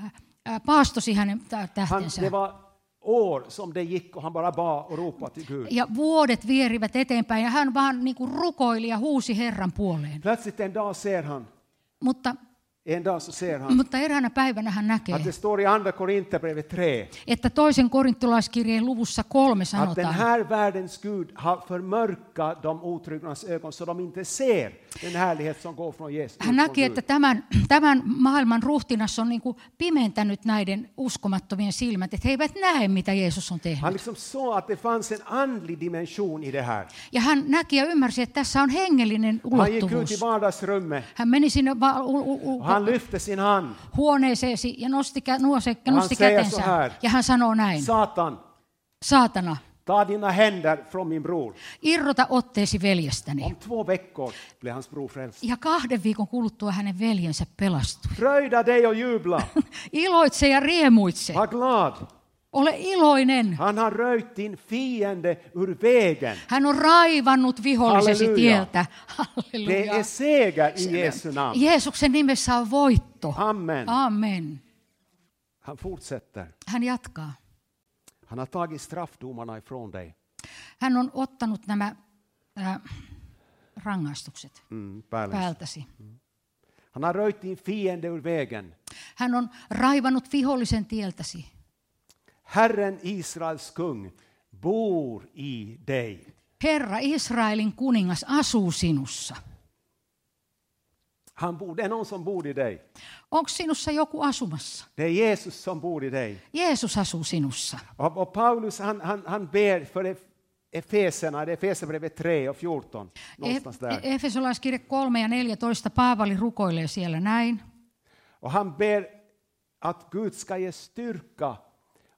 [SPEAKER 2] äh, paastosi hänen tä-
[SPEAKER 1] Han,
[SPEAKER 2] tähtensä.
[SPEAKER 1] det var år som det gick och han bara bad och ropade till Gud.
[SPEAKER 2] Ja vuodet vierivät eteenpäin ja hän vaan niin kuin rukoili ja huusi Herran puoleen.
[SPEAKER 1] Plötsligt en dag ser han,
[SPEAKER 2] Mutta,
[SPEAKER 1] en dag så ser han
[SPEAKER 2] mutta eräänä päivänä hän näkee,
[SPEAKER 1] att det står i Andra Korinthierbrevet 3
[SPEAKER 2] että toisen korintolaiskirjeen luvussa kolme
[SPEAKER 1] att den
[SPEAKER 2] sanotaan,
[SPEAKER 1] här världens Gud har förmörkat de otrognas ögon så de inte ser den härlighet som går från Jesus.
[SPEAKER 2] hän näki,
[SPEAKER 1] Från
[SPEAKER 2] että
[SPEAKER 1] Gud.
[SPEAKER 2] tämän, tämän maailman ruhtinas on niin kuin pimentänyt näiden uskomattomien silmät, että he eivät näe, mitä Jeesus on
[SPEAKER 1] Han
[SPEAKER 2] tehnyt.
[SPEAKER 1] liksom såg att det fanns en andlig dimension i det här.
[SPEAKER 2] Ja hän näki ja ymmärsi, että tässä on hengellinen
[SPEAKER 1] Han gick ut i
[SPEAKER 2] ulottuvuus.
[SPEAKER 1] vardagsrummet
[SPEAKER 2] Hän meni sinne va- u- u- u-
[SPEAKER 1] och han lyfte sin hand.
[SPEAKER 2] huoneeseesi ja nosti, kä- nuose,
[SPEAKER 1] Hän
[SPEAKER 2] nosti
[SPEAKER 1] säger
[SPEAKER 2] kätensä.
[SPEAKER 1] så här.
[SPEAKER 2] Ja hän sanoo näin,
[SPEAKER 1] Satan,
[SPEAKER 2] saatana,
[SPEAKER 1] ta dina händer från min bror.
[SPEAKER 2] irrota otteesi veljestäni.
[SPEAKER 1] Om två veckor blev hans bror frälst.
[SPEAKER 2] Ja kahden viikon kuluttua hänen veljensä pelastui.
[SPEAKER 1] Fröjda dig och jubla.
[SPEAKER 2] Iloitse ja riemuitse.
[SPEAKER 1] Var glad.
[SPEAKER 2] Ole iloinen.
[SPEAKER 1] Han har röjt din fiende ur vägen.
[SPEAKER 2] Hän on raivannut vihollisesi
[SPEAKER 1] Halleluja.
[SPEAKER 2] tieltä.
[SPEAKER 1] Det
[SPEAKER 2] Halleluja.
[SPEAKER 1] är seger i Jesu namn.
[SPEAKER 2] Jeesuksen nimessä on voitto.
[SPEAKER 1] Amen.
[SPEAKER 2] Amen.
[SPEAKER 1] Han fortsätter.
[SPEAKER 2] Hän jatkaa.
[SPEAKER 1] Han har tagit straffdomarna ifrån dig.
[SPEAKER 2] Hän on ottanut nämä äh, rangaistukset
[SPEAKER 1] Mm, Pärlis.
[SPEAKER 2] päältäsi.
[SPEAKER 1] Han har röjt din fiende ur vägen.
[SPEAKER 2] Hän on raivannut vihollisen tieltäsi.
[SPEAKER 1] Herren Israels kung bor i dig.
[SPEAKER 2] Herra Israelin kuningas asuu sinussa.
[SPEAKER 1] Han bor, det är någon som bor i dig.
[SPEAKER 2] Onko sinussa joku asumassa?
[SPEAKER 1] Det är Jesus som bor i dig.
[SPEAKER 2] Jeesus asuu sinussa.
[SPEAKER 1] Och, och Paulus han, han, han ber för Efeserna, det är Efesierbrevet 3 och 14. Någonstans
[SPEAKER 2] E-
[SPEAKER 1] där.
[SPEAKER 2] E- Efesolaiskirje 3 ja 14 Paavali rukoilee siellä näin.
[SPEAKER 1] Och han ber att Gud ska ge styrka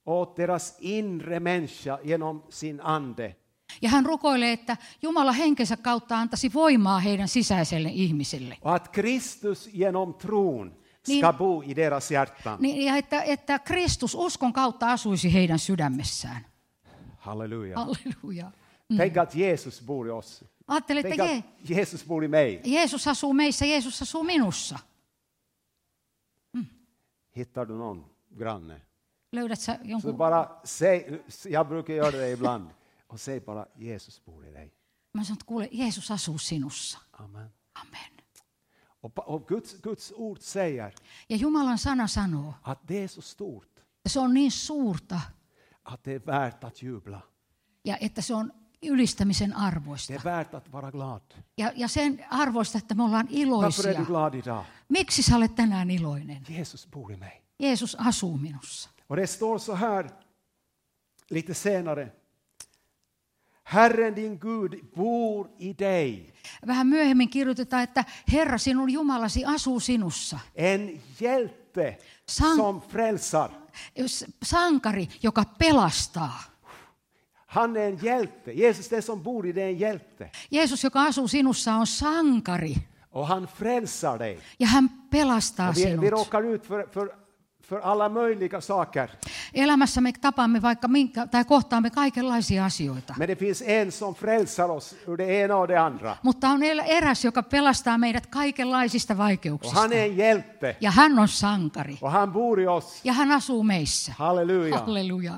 [SPEAKER 1] åt deras inre människa genom sin ande.
[SPEAKER 2] Ja hän rukoilee, että Jumala henkensä kautta antaisi voimaa heidän sisäiselle ihmiselle.
[SPEAKER 1] Och att Kristus genom tron ska
[SPEAKER 2] Niin.
[SPEAKER 1] bo i deras hjärtan.
[SPEAKER 2] Niin, ja että, että Kristus uskon kautta asuisi heidän sydämessään.
[SPEAKER 1] Halleluja.
[SPEAKER 2] Halleluja.
[SPEAKER 1] Tänk att Jesus bor i oss.
[SPEAKER 2] Ajattele,
[SPEAKER 1] Tänk
[SPEAKER 2] että Je-
[SPEAKER 1] att Jesus bor i mig.
[SPEAKER 2] Jeesus asuu meissä, Jeesus asuu minussa.
[SPEAKER 1] Hittar du någon granne?
[SPEAKER 2] Löydät sä
[SPEAKER 1] Så
[SPEAKER 2] jonkun...
[SPEAKER 1] bara säg, jag brukar göra det ibland, och säg bara Jesus bor i dig.
[SPEAKER 2] Mä sanon, että kuule, Jeesus asuu sinussa.
[SPEAKER 1] Amen.
[SPEAKER 2] Amen.
[SPEAKER 1] Och, pa- och Guds, Guds ord säger
[SPEAKER 2] Ja Jumalan sana sanoo,
[SPEAKER 1] att det är så stort
[SPEAKER 2] että se on niin suurta
[SPEAKER 1] att det är värt att jubla.
[SPEAKER 2] ja että se on ylistämisen
[SPEAKER 1] Det
[SPEAKER 2] arvoista.
[SPEAKER 1] är värt att vara glad.
[SPEAKER 2] Ja, ja sen arvoista, että me ollaan
[SPEAKER 1] Varför är
[SPEAKER 2] iloisia.
[SPEAKER 1] du glad idag?
[SPEAKER 2] Miksi sä olet tänään iloinen?
[SPEAKER 1] Jesus bor i mig.
[SPEAKER 2] Jeesus asuu minussa.
[SPEAKER 1] Och det står så här lite senare. Herren din Gud bor i dig.
[SPEAKER 2] Vähän myöhemmin kirjoitetaan, että Herra sinun Jumalasi asuu sinussa.
[SPEAKER 1] En hjälte
[SPEAKER 2] San-
[SPEAKER 1] som frälsar.
[SPEAKER 2] S- Sankari, joka pelastaa.
[SPEAKER 1] Han är en hjälte. Jesus, det som bor i dig, är en hjälte.
[SPEAKER 2] Jeesus, joka asuu sinussa, on sankari.
[SPEAKER 1] Och han frälsar dig.
[SPEAKER 2] Ja hän pelastaa
[SPEAKER 1] Och vi, vi
[SPEAKER 2] sinut.
[SPEAKER 1] råkar ut för, för, för alla möjliga saker.
[SPEAKER 2] Elämässä me tapaamme vaikka minkä, tai kohtaamme kaikenlaisia asioita.
[SPEAKER 1] Men det finns en som frälsar oss ur det ena och det andra.
[SPEAKER 2] Mutta on el- eräs, joka pelastaa meidät kaikenlaisista
[SPEAKER 1] Och
[SPEAKER 2] vaikeuksista.
[SPEAKER 1] han är en hjälte.
[SPEAKER 2] Ja hän on sankari.
[SPEAKER 1] Och han bor i oss.
[SPEAKER 2] Ja hän asuu meissä.
[SPEAKER 1] Halleluja.
[SPEAKER 2] Halleluja.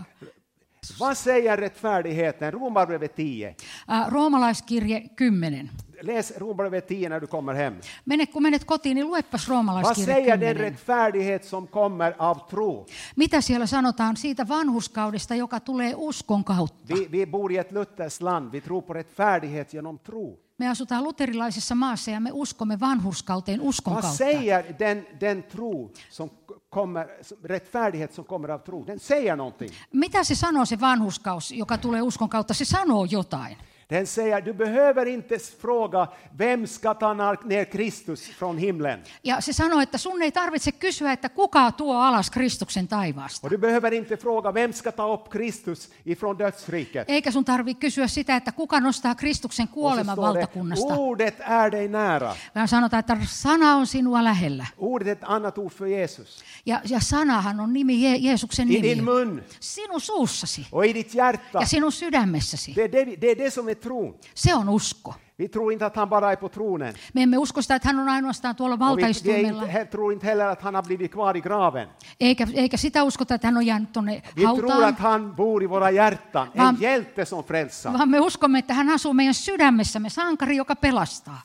[SPEAKER 1] Vad säger rättfärdigheten? Romarbrevet 10.
[SPEAKER 2] Ä, Roomalaiskirje 10.
[SPEAKER 1] Läs Romarbrevet 10 när du kommer hem.
[SPEAKER 2] Mene, kun menet kotiin, niin
[SPEAKER 1] Vad
[SPEAKER 2] luepas roomalaiskirje
[SPEAKER 1] säger den
[SPEAKER 2] 10.
[SPEAKER 1] rättfärdighet som kommer av tro?
[SPEAKER 2] Mitä siellä sanotaan siitä vanhuskaudesta, joka tulee uskon kautta?
[SPEAKER 1] Vi, vi bor i ett Luthers land. Vi tror på rättfärdighet genom tro.
[SPEAKER 2] Me asutaan luterilaisessa maassa ja me uskomme vanhurskauteen uskon
[SPEAKER 1] Vad
[SPEAKER 2] kautta.
[SPEAKER 1] säger den, den tro som kommer, som- rättfärdighet som kommer av tro? Den säger någonting.
[SPEAKER 2] Mitä se sanoo se vanhuskaus, joka tulee uskon kautta? Se sanoo jotain.
[SPEAKER 1] Den säger, du behöver inte fråga vem ska ta nar- ner Kristus från himlen.
[SPEAKER 2] Ja se sanoo, että sun ei tarvitse kysyä, että kuka tuo alas Kristuksen taivaasta.
[SPEAKER 1] Och du behöver inte fråga vem ska ta upp Kristus ifrån dödsriket.
[SPEAKER 2] Eikä sun tarvitse kysyä sitä, että kuka nostaa Kristuksen
[SPEAKER 1] Och så
[SPEAKER 2] kuoleman
[SPEAKER 1] står det,
[SPEAKER 2] valtakunnasta.
[SPEAKER 1] ordet är dig nära.
[SPEAKER 2] Vaan sanotaan, että sana on sinua lähellä.
[SPEAKER 1] Ordet är ett annat ord för Jesus.
[SPEAKER 2] Ja, ja sanahan on nimi, Je- Jeesuksen
[SPEAKER 1] I
[SPEAKER 2] nimi.
[SPEAKER 1] din mun
[SPEAKER 2] Sinun suussasi
[SPEAKER 1] och i ditt hjärta.
[SPEAKER 2] ja sinun sydämessäsi.
[SPEAKER 1] Det är det, vi- det är det som är tron.
[SPEAKER 2] Se on usko.
[SPEAKER 1] Vi tror inte att han bara är på tronen.
[SPEAKER 2] Me emme usko sitä, että hän on ainoastaan tuolla
[SPEAKER 1] Och vi det är
[SPEAKER 2] valtaistuimella.
[SPEAKER 1] inte, he- tror inte heller att han har blivit kvar i graven.
[SPEAKER 2] Eikä, eikä sitä uskota, että hän on jäänyt tuonne
[SPEAKER 1] Vi tror
[SPEAKER 2] hautaan.
[SPEAKER 1] att han bor i våra hjärtan. En
[SPEAKER 2] Vaan-
[SPEAKER 1] hjälte som frälsar.
[SPEAKER 2] Vaan me uskomme, että hän asuu meidän sydämessämme, sankari, joka pelastaa.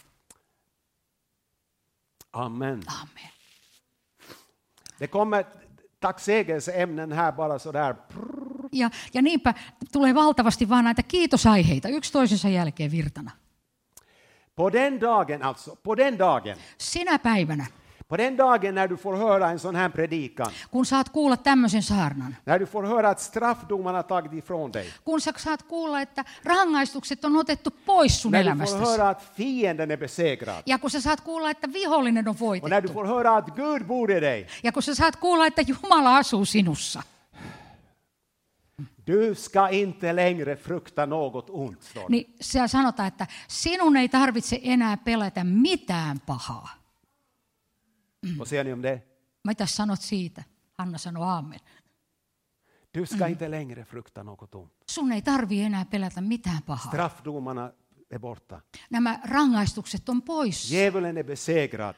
[SPEAKER 1] Amen.
[SPEAKER 2] Aamen.
[SPEAKER 1] Det kommer tacksägelseämnen här bara sådär.
[SPEAKER 2] Ja, ja niinpä tulee valtavasti vaan näitä kiitosaiheita, yksi toisensa jälkeen virtana.
[SPEAKER 1] På den dagen alltså, på den dagen,
[SPEAKER 2] Sinä päivänä,
[SPEAKER 1] på den dagen när du får höra en sån här predikan,
[SPEAKER 2] kun saat kuulla tämmöisen saarnan,
[SPEAKER 1] när du får höra att straffdomarna har tagit ifrån dig,
[SPEAKER 2] kun sä saat kuulla, että rangaistukset on otettu pois sun
[SPEAKER 1] när du får
[SPEAKER 2] elämästäsi,
[SPEAKER 1] höra att fienden är besegrad,
[SPEAKER 2] ja kun sä saat kuulla, että vihollinen on
[SPEAKER 1] och när du
[SPEAKER 2] voitettu,
[SPEAKER 1] får höra att Gud bor i dig,
[SPEAKER 2] ja kun sä saat kuulla, että Jumala asuu sinussa,
[SPEAKER 1] du ska inte längre frukta något ont. står det.
[SPEAKER 2] niin siellä sanotaan, että sinun ei tarvitse enää pelätä mitään pahaa.
[SPEAKER 1] Vad säger ni om det?
[SPEAKER 2] Mitä sanot siitä? Hanna sanoi aamen.
[SPEAKER 1] Du ska inte längre frukta något ont.
[SPEAKER 2] Sun ei tarvi enää pelätä mitään pahaa.
[SPEAKER 1] Straffdomarna är borta.
[SPEAKER 2] Nämä rangaistukset on pois.
[SPEAKER 1] Djävulen är besegrad.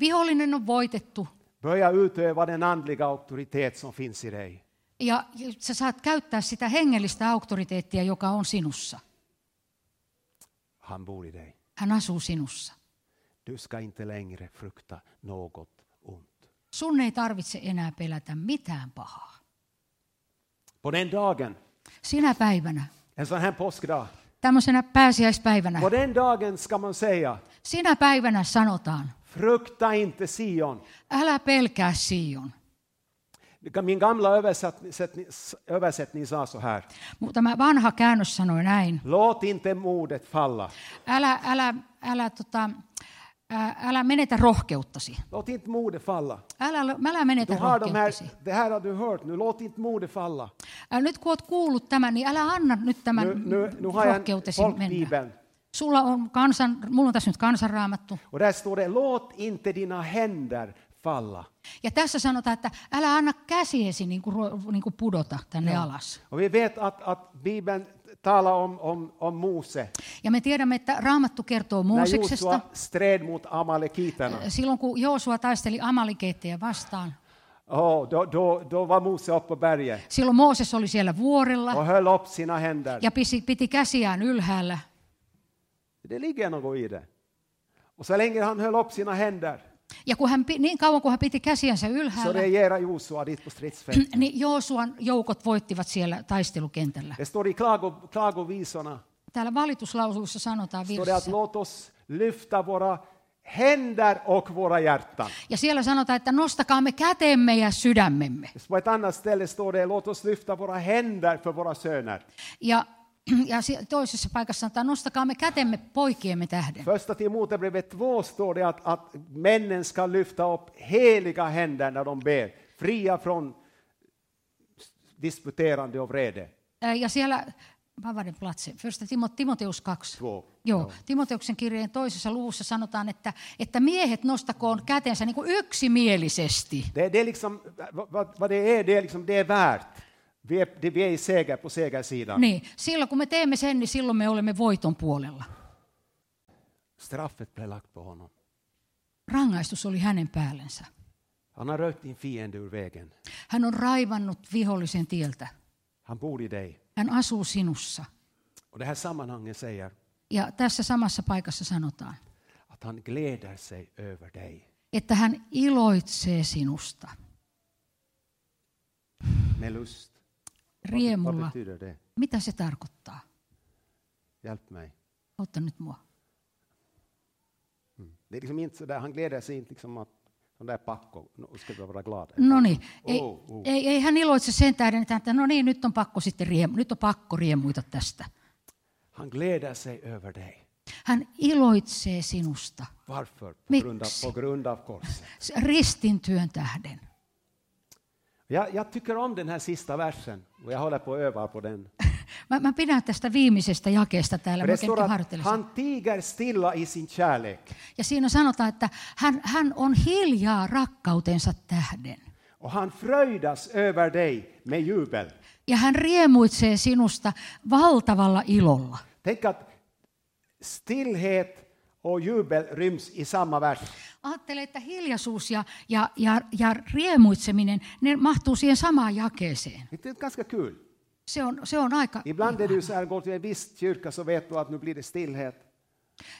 [SPEAKER 2] Vihollinen on voitettu
[SPEAKER 1] Börja utöva den andliga auktoritet som finns i dig.
[SPEAKER 2] ja ja sä saat käyttää sitä hengellistä auktoriteettia, joka on sinussa.
[SPEAKER 1] Han bor i dig.
[SPEAKER 2] Hän asuu sinussa.
[SPEAKER 1] Du ska inte längre frukta något ont.
[SPEAKER 2] Sun ei tarvitse enää pelätä mitään pahaa.
[SPEAKER 1] På den dagen,
[SPEAKER 2] Sinä päivänä,
[SPEAKER 1] en sån här påskdag,
[SPEAKER 2] tämmöisenä pääsiäispäivänä,
[SPEAKER 1] på den dagen ska man säga
[SPEAKER 2] sinä päivänä sanotaan,
[SPEAKER 1] frukta inte Sion.
[SPEAKER 2] älä pelkää Sion.
[SPEAKER 1] Min gamla översättning, översättning sa så här.
[SPEAKER 2] Mutta tämä vanha käännös sanoi näin,
[SPEAKER 1] Låt inte modet falla.
[SPEAKER 2] älä, älä, älä, tota, ää, älä menetä rohkeuttasi.
[SPEAKER 1] Låt inte modet falla.
[SPEAKER 2] Älä, älä
[SPEAKER 1] Du
[SPEAKER 2] menetä
[SPEAKER 1] har de här,
[SPEAKER 2] rohkeuttasi.
[SPEAKER 1] det här har du hört nu, låt inte modet falla.
[SPEAKER 2] Ää, Nyt kun olet kuullut tämän, niin älä anna nyt
[SPEAKER 1] Nu,
[SPEAKER 2] tämän
[SPEAKER 1] nu, nu har jag en
[SPEAKER 2] rohkeutesi mennä.
[SPEAKER 1] folkbibeln.
[SPEAKER 2] Sulla on kansan, mulla on tässä nyt kansanraamattu.
[SPEAKER 1] Och där står det, låt inte dina händer falla.
[SPEAKER 2] Ja tässä sanotaan, että älä anna käsiesi niin kuin, ruo- niin kuin pudota tänne Joo. alas.
[SPEAKER 1] Och vi vet att, att Bibeln talar om, om, om Mose.
[SPEAKER 2] Ja me tiedämme, että raamattu kertoo
[SPEAKER 1] När
[SPEAKER 2] Mooseksesta.
[SPEAKER 1] Josua stred mot amalekiterna.
[SPEAKER 2] Silloin kun Joosua taisteli amalikeitteja vastaan,
[SPEAKER 1] Oh, då, då, då var Mose uppe på berget
[SPEAKER 2] silloin Mooses oli siellä vuorella
[SPEAKER 1] och höll upp sina händer.
[SPEAKER 2] ja pisi, piti käsiään ylhäällä.
[SPEAKER 1] Det ligger något i det. Och så länge han höll upp sina händer
[SPEAKER 2] Ja kun hän, pi- niin kauan kuin hän piti käsiänsä
[SPEAKER 1] så
[SPEAKER 2] ylhäällä,
[SPEAKER 1] regerade Josua dit på stridsfältet.
[SPEAKER 2] niin Joosuan joukot voittivat siellä taistelukentällä.
[SPEAKER 1] Det står i klago, klagovisorna
[SPEAKER 2] Täällä valituslausuissa sanotaan
[SPEAKER 1] står det att
[SPEAKER 2] virsissä.
[SPEAKER 1] låt oss lyfta våra händer och våra hjärtan.
[SPEAKER 2] Ja siellä sanotaan, että nostakaamme kätemme ja sydämemme.
[SPEAKER 1] På ett annat ställe står det låt oss lyfta våra händer för våra söner.
[SPEAKER 2] Ja, ja si- toisessa paikassa sanotaan, nostakaamme kätemme poikiemme tähden.
[SPEAKER 1] Första Timoterbrevet 2 står det att, att männen ska lyfta upp heliga händer när de ber, fria från disputerande och vrede.
[SPEAKER 2] Ää, Äh, Ja siellä, Vavarin platse, First Timo, Timoteus 2.
[SPEAKER 1] Två.
[SPEAKER 2] Joo, Timoteuksen kirjeen toisessa luvussa sanotaan, että, että miehet nostakoon kätensä niin kuin yksimielisesti.
[SPEAKER 1] Det, det är liksom, vad- vad, vad det är, det är, liksom, det är värt. Vi är, det, vi är i seger på segersidan.
[SPEAKER 2] Niin, silloin kun me teemme sen, niin silloin me olemme voiton puolella.
[SPEAKER 1] Straffet blev lagt på honom.
[SPEAKER 2] Rangaistus oli hänen päällensä.
[SPEAKER 1] Han har röjt din fiende ur vägen.
[SPEAKER 2] Hän on raivannut vihollisen tieltä.
[SPEAKER 1] Han bor i dig.
[SPEAKER 2] Hän asuu sinussa.
[SPEAKER 1] Och det här sammanhanget säger
[SPEAKER 2] Ja tässä samassa paikassa sanotaan,
[SPEAKER 1] att han gläder sig över dig
[SPEAKER 2] että hän iloitsee sinusta
[SPEAKER 1] med lust. Vad, vad
[SPEAKER 2] riemulla.
[SPEAKER 1] betyder det?
[SPEAKER 2] Mitä se tarkoittaa?
[SPEAKER 1] Hjälp mig.
[SPEAKER 2] Auta nyt mua.
[SPEAKER 1] Det är liksom inte så där, han gläder sig inte liksom att de där pakko, no, ska vi vara glada.
[SPEAKER 2] No niin, ei,
[SPEAKER 1] Oh, oh.
[SPEAKER 2] ei, ei hän iloitse sen tähden, että että no niin, nyt on pakko sitten riemu, nyt on pakko riemuita tästä.
[SPEAKER 1] Han gläder sig över dig.
[SPEAKER 2] Hän iloitsee sinusta
[SPEAKER 1] Varför? På
[SPEAKER 2] Miksi?
[SPEAKER 1] grund av, på grund av korset.
[SPEAKER 2] s- ristin työn tähden.
[SPEAKER 1] Jag, jag tycker om den här sista versen och jag håller på att öva på den.
[SPEAKER 2] Mä, mä pidän tästä viimeisestä jakeesta täällä,
[SPEAKER 1] För
[SPEAKER 2] mä
[SPEAKER 1] det
[SPEAKER 2] oikein
[SPEAKER 1] står att
[SPEAKER 2] harjoittelen sitä.
[SPEAKER 1] han tiger stilla i sin kärlek
[SPEAKER 2] Ja siinä sanotaan, että hän, hän on hiljaa rakkautensa tähden.
[SPEAKER 1] och han fröjdas över dig med jubel.
[SPEAKER 2] Ja hän riemuitsee sinusta valtavalla ilolla.
[SPEAKER 1] Tänk att stillhet och jubel ryms i samma vers.
[SPEAKER 2] Ajattele, että hiljaisuus ja, ja, ja, ja riemuitseminen, ne mahtuu siihen samaan jakeeseen.
[SPEAKER 1] Det är ganska kul.
[SPEAKER 2] Se on, se on aika...
[SPEAKER 1] Ibland är det ju så här, går till en viss kyrka så vet du att nu blir det stillhet.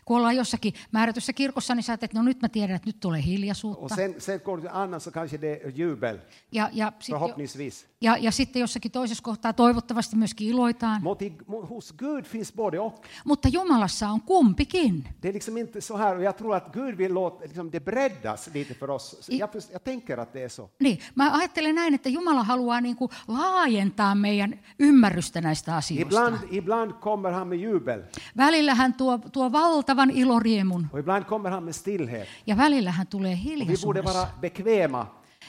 [SPEAKER 2] Kun ollaan jossakin määrätyssä kirkossa, niin sä ajattelet, että no nyt mä tiedän, että nyt tulee
[SPEAKER 1] Och
[SPEAKER 2] hiljaisuutta.
[SPEAKER 1] sen, sen går du till en annan så kanske det är jubel,
[SPEAKER 2] Ja, ja, sitten, jo-
[SPEAKER 1] förhoppningsvis.
[SPEAKER 2] ja, ja sitten jossakin toisessa kohtaa toivottavasti myöskin iloitaan.
[SPEAKER 1] Mot i, mo- hos Gud finns både och.
[SPEAKER 2] Mutta Jumalassa on kumpikin.
[SPEAKER 1] Det är liksom inte så här, och jag tror att Gud vill låta liksom, det breddas lite för oss. Så
[SPEAKER 2] I-
[SPEAKER 1] Jag, förs- jag tänker att det är så.
[SPEAKER 2] Niin, mä ajattelen näin, että Jumala haluaa niin kuin laajentaa meidän ymmärrystä näistä asioista.
[SPEAKER 1] Ibland, ibland kommer han med jubel
[SPEAKER 2] Välillä hän tuo, tuo valtavan iloriemun
[SPEAKER 1] och ibland kommer han med stillhet.
[SPEAKER 2] ja välillä hän tulee
[SPEAKER 1] Och vi borde vara
[SPEAKER 2] hiljaisuudessa.
[SPEAKER 1] bekväma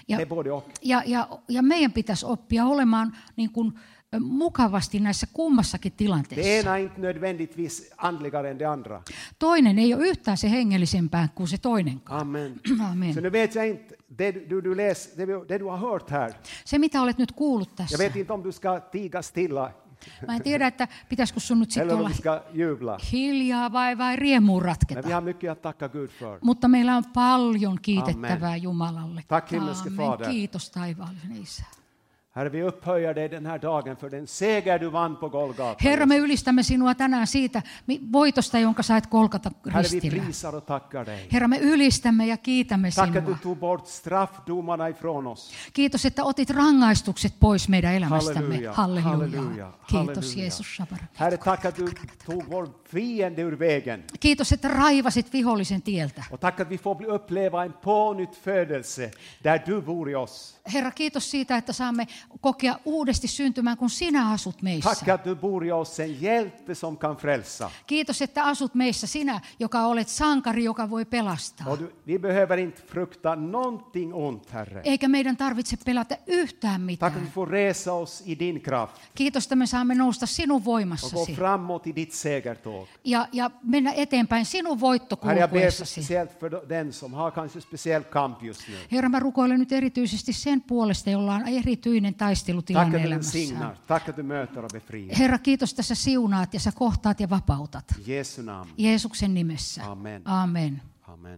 [SPEAKER 2] Ja-
[SPEAKER 1] med både och.
[SPEAKER 2] Ja, ja, ja meidän pitäisi oppia olemaan niin kuin ö, mukavasti näissä kummassakin
[SPEAKER 1] Det
[SPEAKER 2] tilanteessa.
[SPEAKER 1] ena är inte nödvändigtvis andligare än det andra.
[SPEAKER 2] Toinen ei ole yhtään se hengellisempää kuin se toinenkaan.
[SPEAKER 1] Amen.
[SPEAKER 2] Amen.
[SPEAKER 1] Så nu vet jag inte, det du, du- du, läs, det, vi- det du har hört här,
[SPEAKER 2] Se, mitä olet nyt kuullut tässä,
[SPEAKER 1] jag vet inte om du ska tiga stilla
[SPEAKER 2] mä en tiedä, että pitäisikö sun nyt sitten
[SPEAKER 1] eller om
[SPEAKER 2] olla
[SPEAKER 1] du ska jubla.
[SPEAKER 2] hiljaa vai, vai riemuun
[SPEAKER 1] Men
[SPEAKER 2] ratketa.
[SPEAKER 1] vi har mycket att tacka Gud för.
[SPEAKER 2] Mutta meillä on paljon kiitettävää
[SPEAKER 1] Amen.
[SPEAKER 2] Jumalalle.
[SPEAKER 1] Tack, himmelske Fader.
[SPEAKER 2] Kiitos taivaallinen Isä.
[SPEAKER 1] Herre, vi upphöjer dig den här dagen för den seger du vann på Golgata.
[SPEAKER 2] Herra, me ylistämme sinua tänään siitä mi- voitosta, jonka sait kolkata
[SPEAKER 1] Herre, vi
[SPEAKER 2] ristillä.
[SPEAKER 1] prisar och tackar dig.
[SPEAKER 2] Herra, me ylistämme ja kiitämme
[SPEAKER 1] Tack att du
[SPEAKER 2] sinua.
[SPEAKER 1] tog bort straffdomarna ifrån oss.
[SPEAKER 2] Kiitos, että otit rangaistukset pois meidän elämästämme.
[SPEAKER 1] Halleluja, halleluja,
[SPEAKER 2] Halleluja. Kiitos
[SPEAKER 1] halleluja.
[SPEAKER 2] Jeesus. Shabara.
[SPEAKER 1] Herre, tack att du tog vår fiende ur vägen.
[SPEAKER 2] Kiitos, että raivasit vihollisen tieltä.
[SPEAKER 1] Och tack att vi får bli- uppleva en pånytt födelse där du bor i oss.
[SPEAKER 2] Herra, kiitos siitä, että saamme kokea uudesti syntymään, kun sinä asut
[SPEAKER 1] Tack
[SPEAKER 2] meissä.
[SPEAKER 1] att du bor i oss, en hjälte som kan frälsa.
[SPEAKER 2] Kiitos, että asut meissä sinä, joka olet sankari, joka voi pelastaa.
[SPEAKER 1] Och du, vi behöver inte frukta någonting ont, Herre.
[SPEAKER 2] Eikä meidän tarvitse pelätä yhtään
[SPEAKER 1] Tack att vi
[SPEAKER 2] mitään.
[SPEAKER 1] får resa oss i din kraft
[SPEAKER 2] Kiitos, että me saamme nousta sinun
[SPEAKER 1] och gå
[SPEAKER 2] voimassasi
[SPEAKER 1] framåt i ditt segertåg.
[SPEAKER 2] ja, ja mennä eteenpäin sinun
[SPEAKER 1] Herre, jag ber
[SPEAKER 2] voittokulkuessasi.
[SPEAKER 1] speciellt för den som har kanske speciell kamp just nu.
[SPEAKER 2] Herra, mä rukoilen nyt erityisesti sen puolesta, jolla on erityinen
[SPEAKER 1] Tack
[SPEAKER 2] taistelutilanne
[SPEAKER 1] att du signar,
[SPEAKER 2] elämässään.
[SPEAKER 1] tack att du möter och befriar.
[SPEAKER 2] Herra, kiitos, että sä siunaat ja sä kohtaat ja vapautat.
[SPEAKER 1] I Jesu namn.
[SPEAKER 2] Jeesuksen nimessä.
[SPEAKER 1] Amen.
[SPEAKER 2] Amen.
[SPEAKER 1] Amen.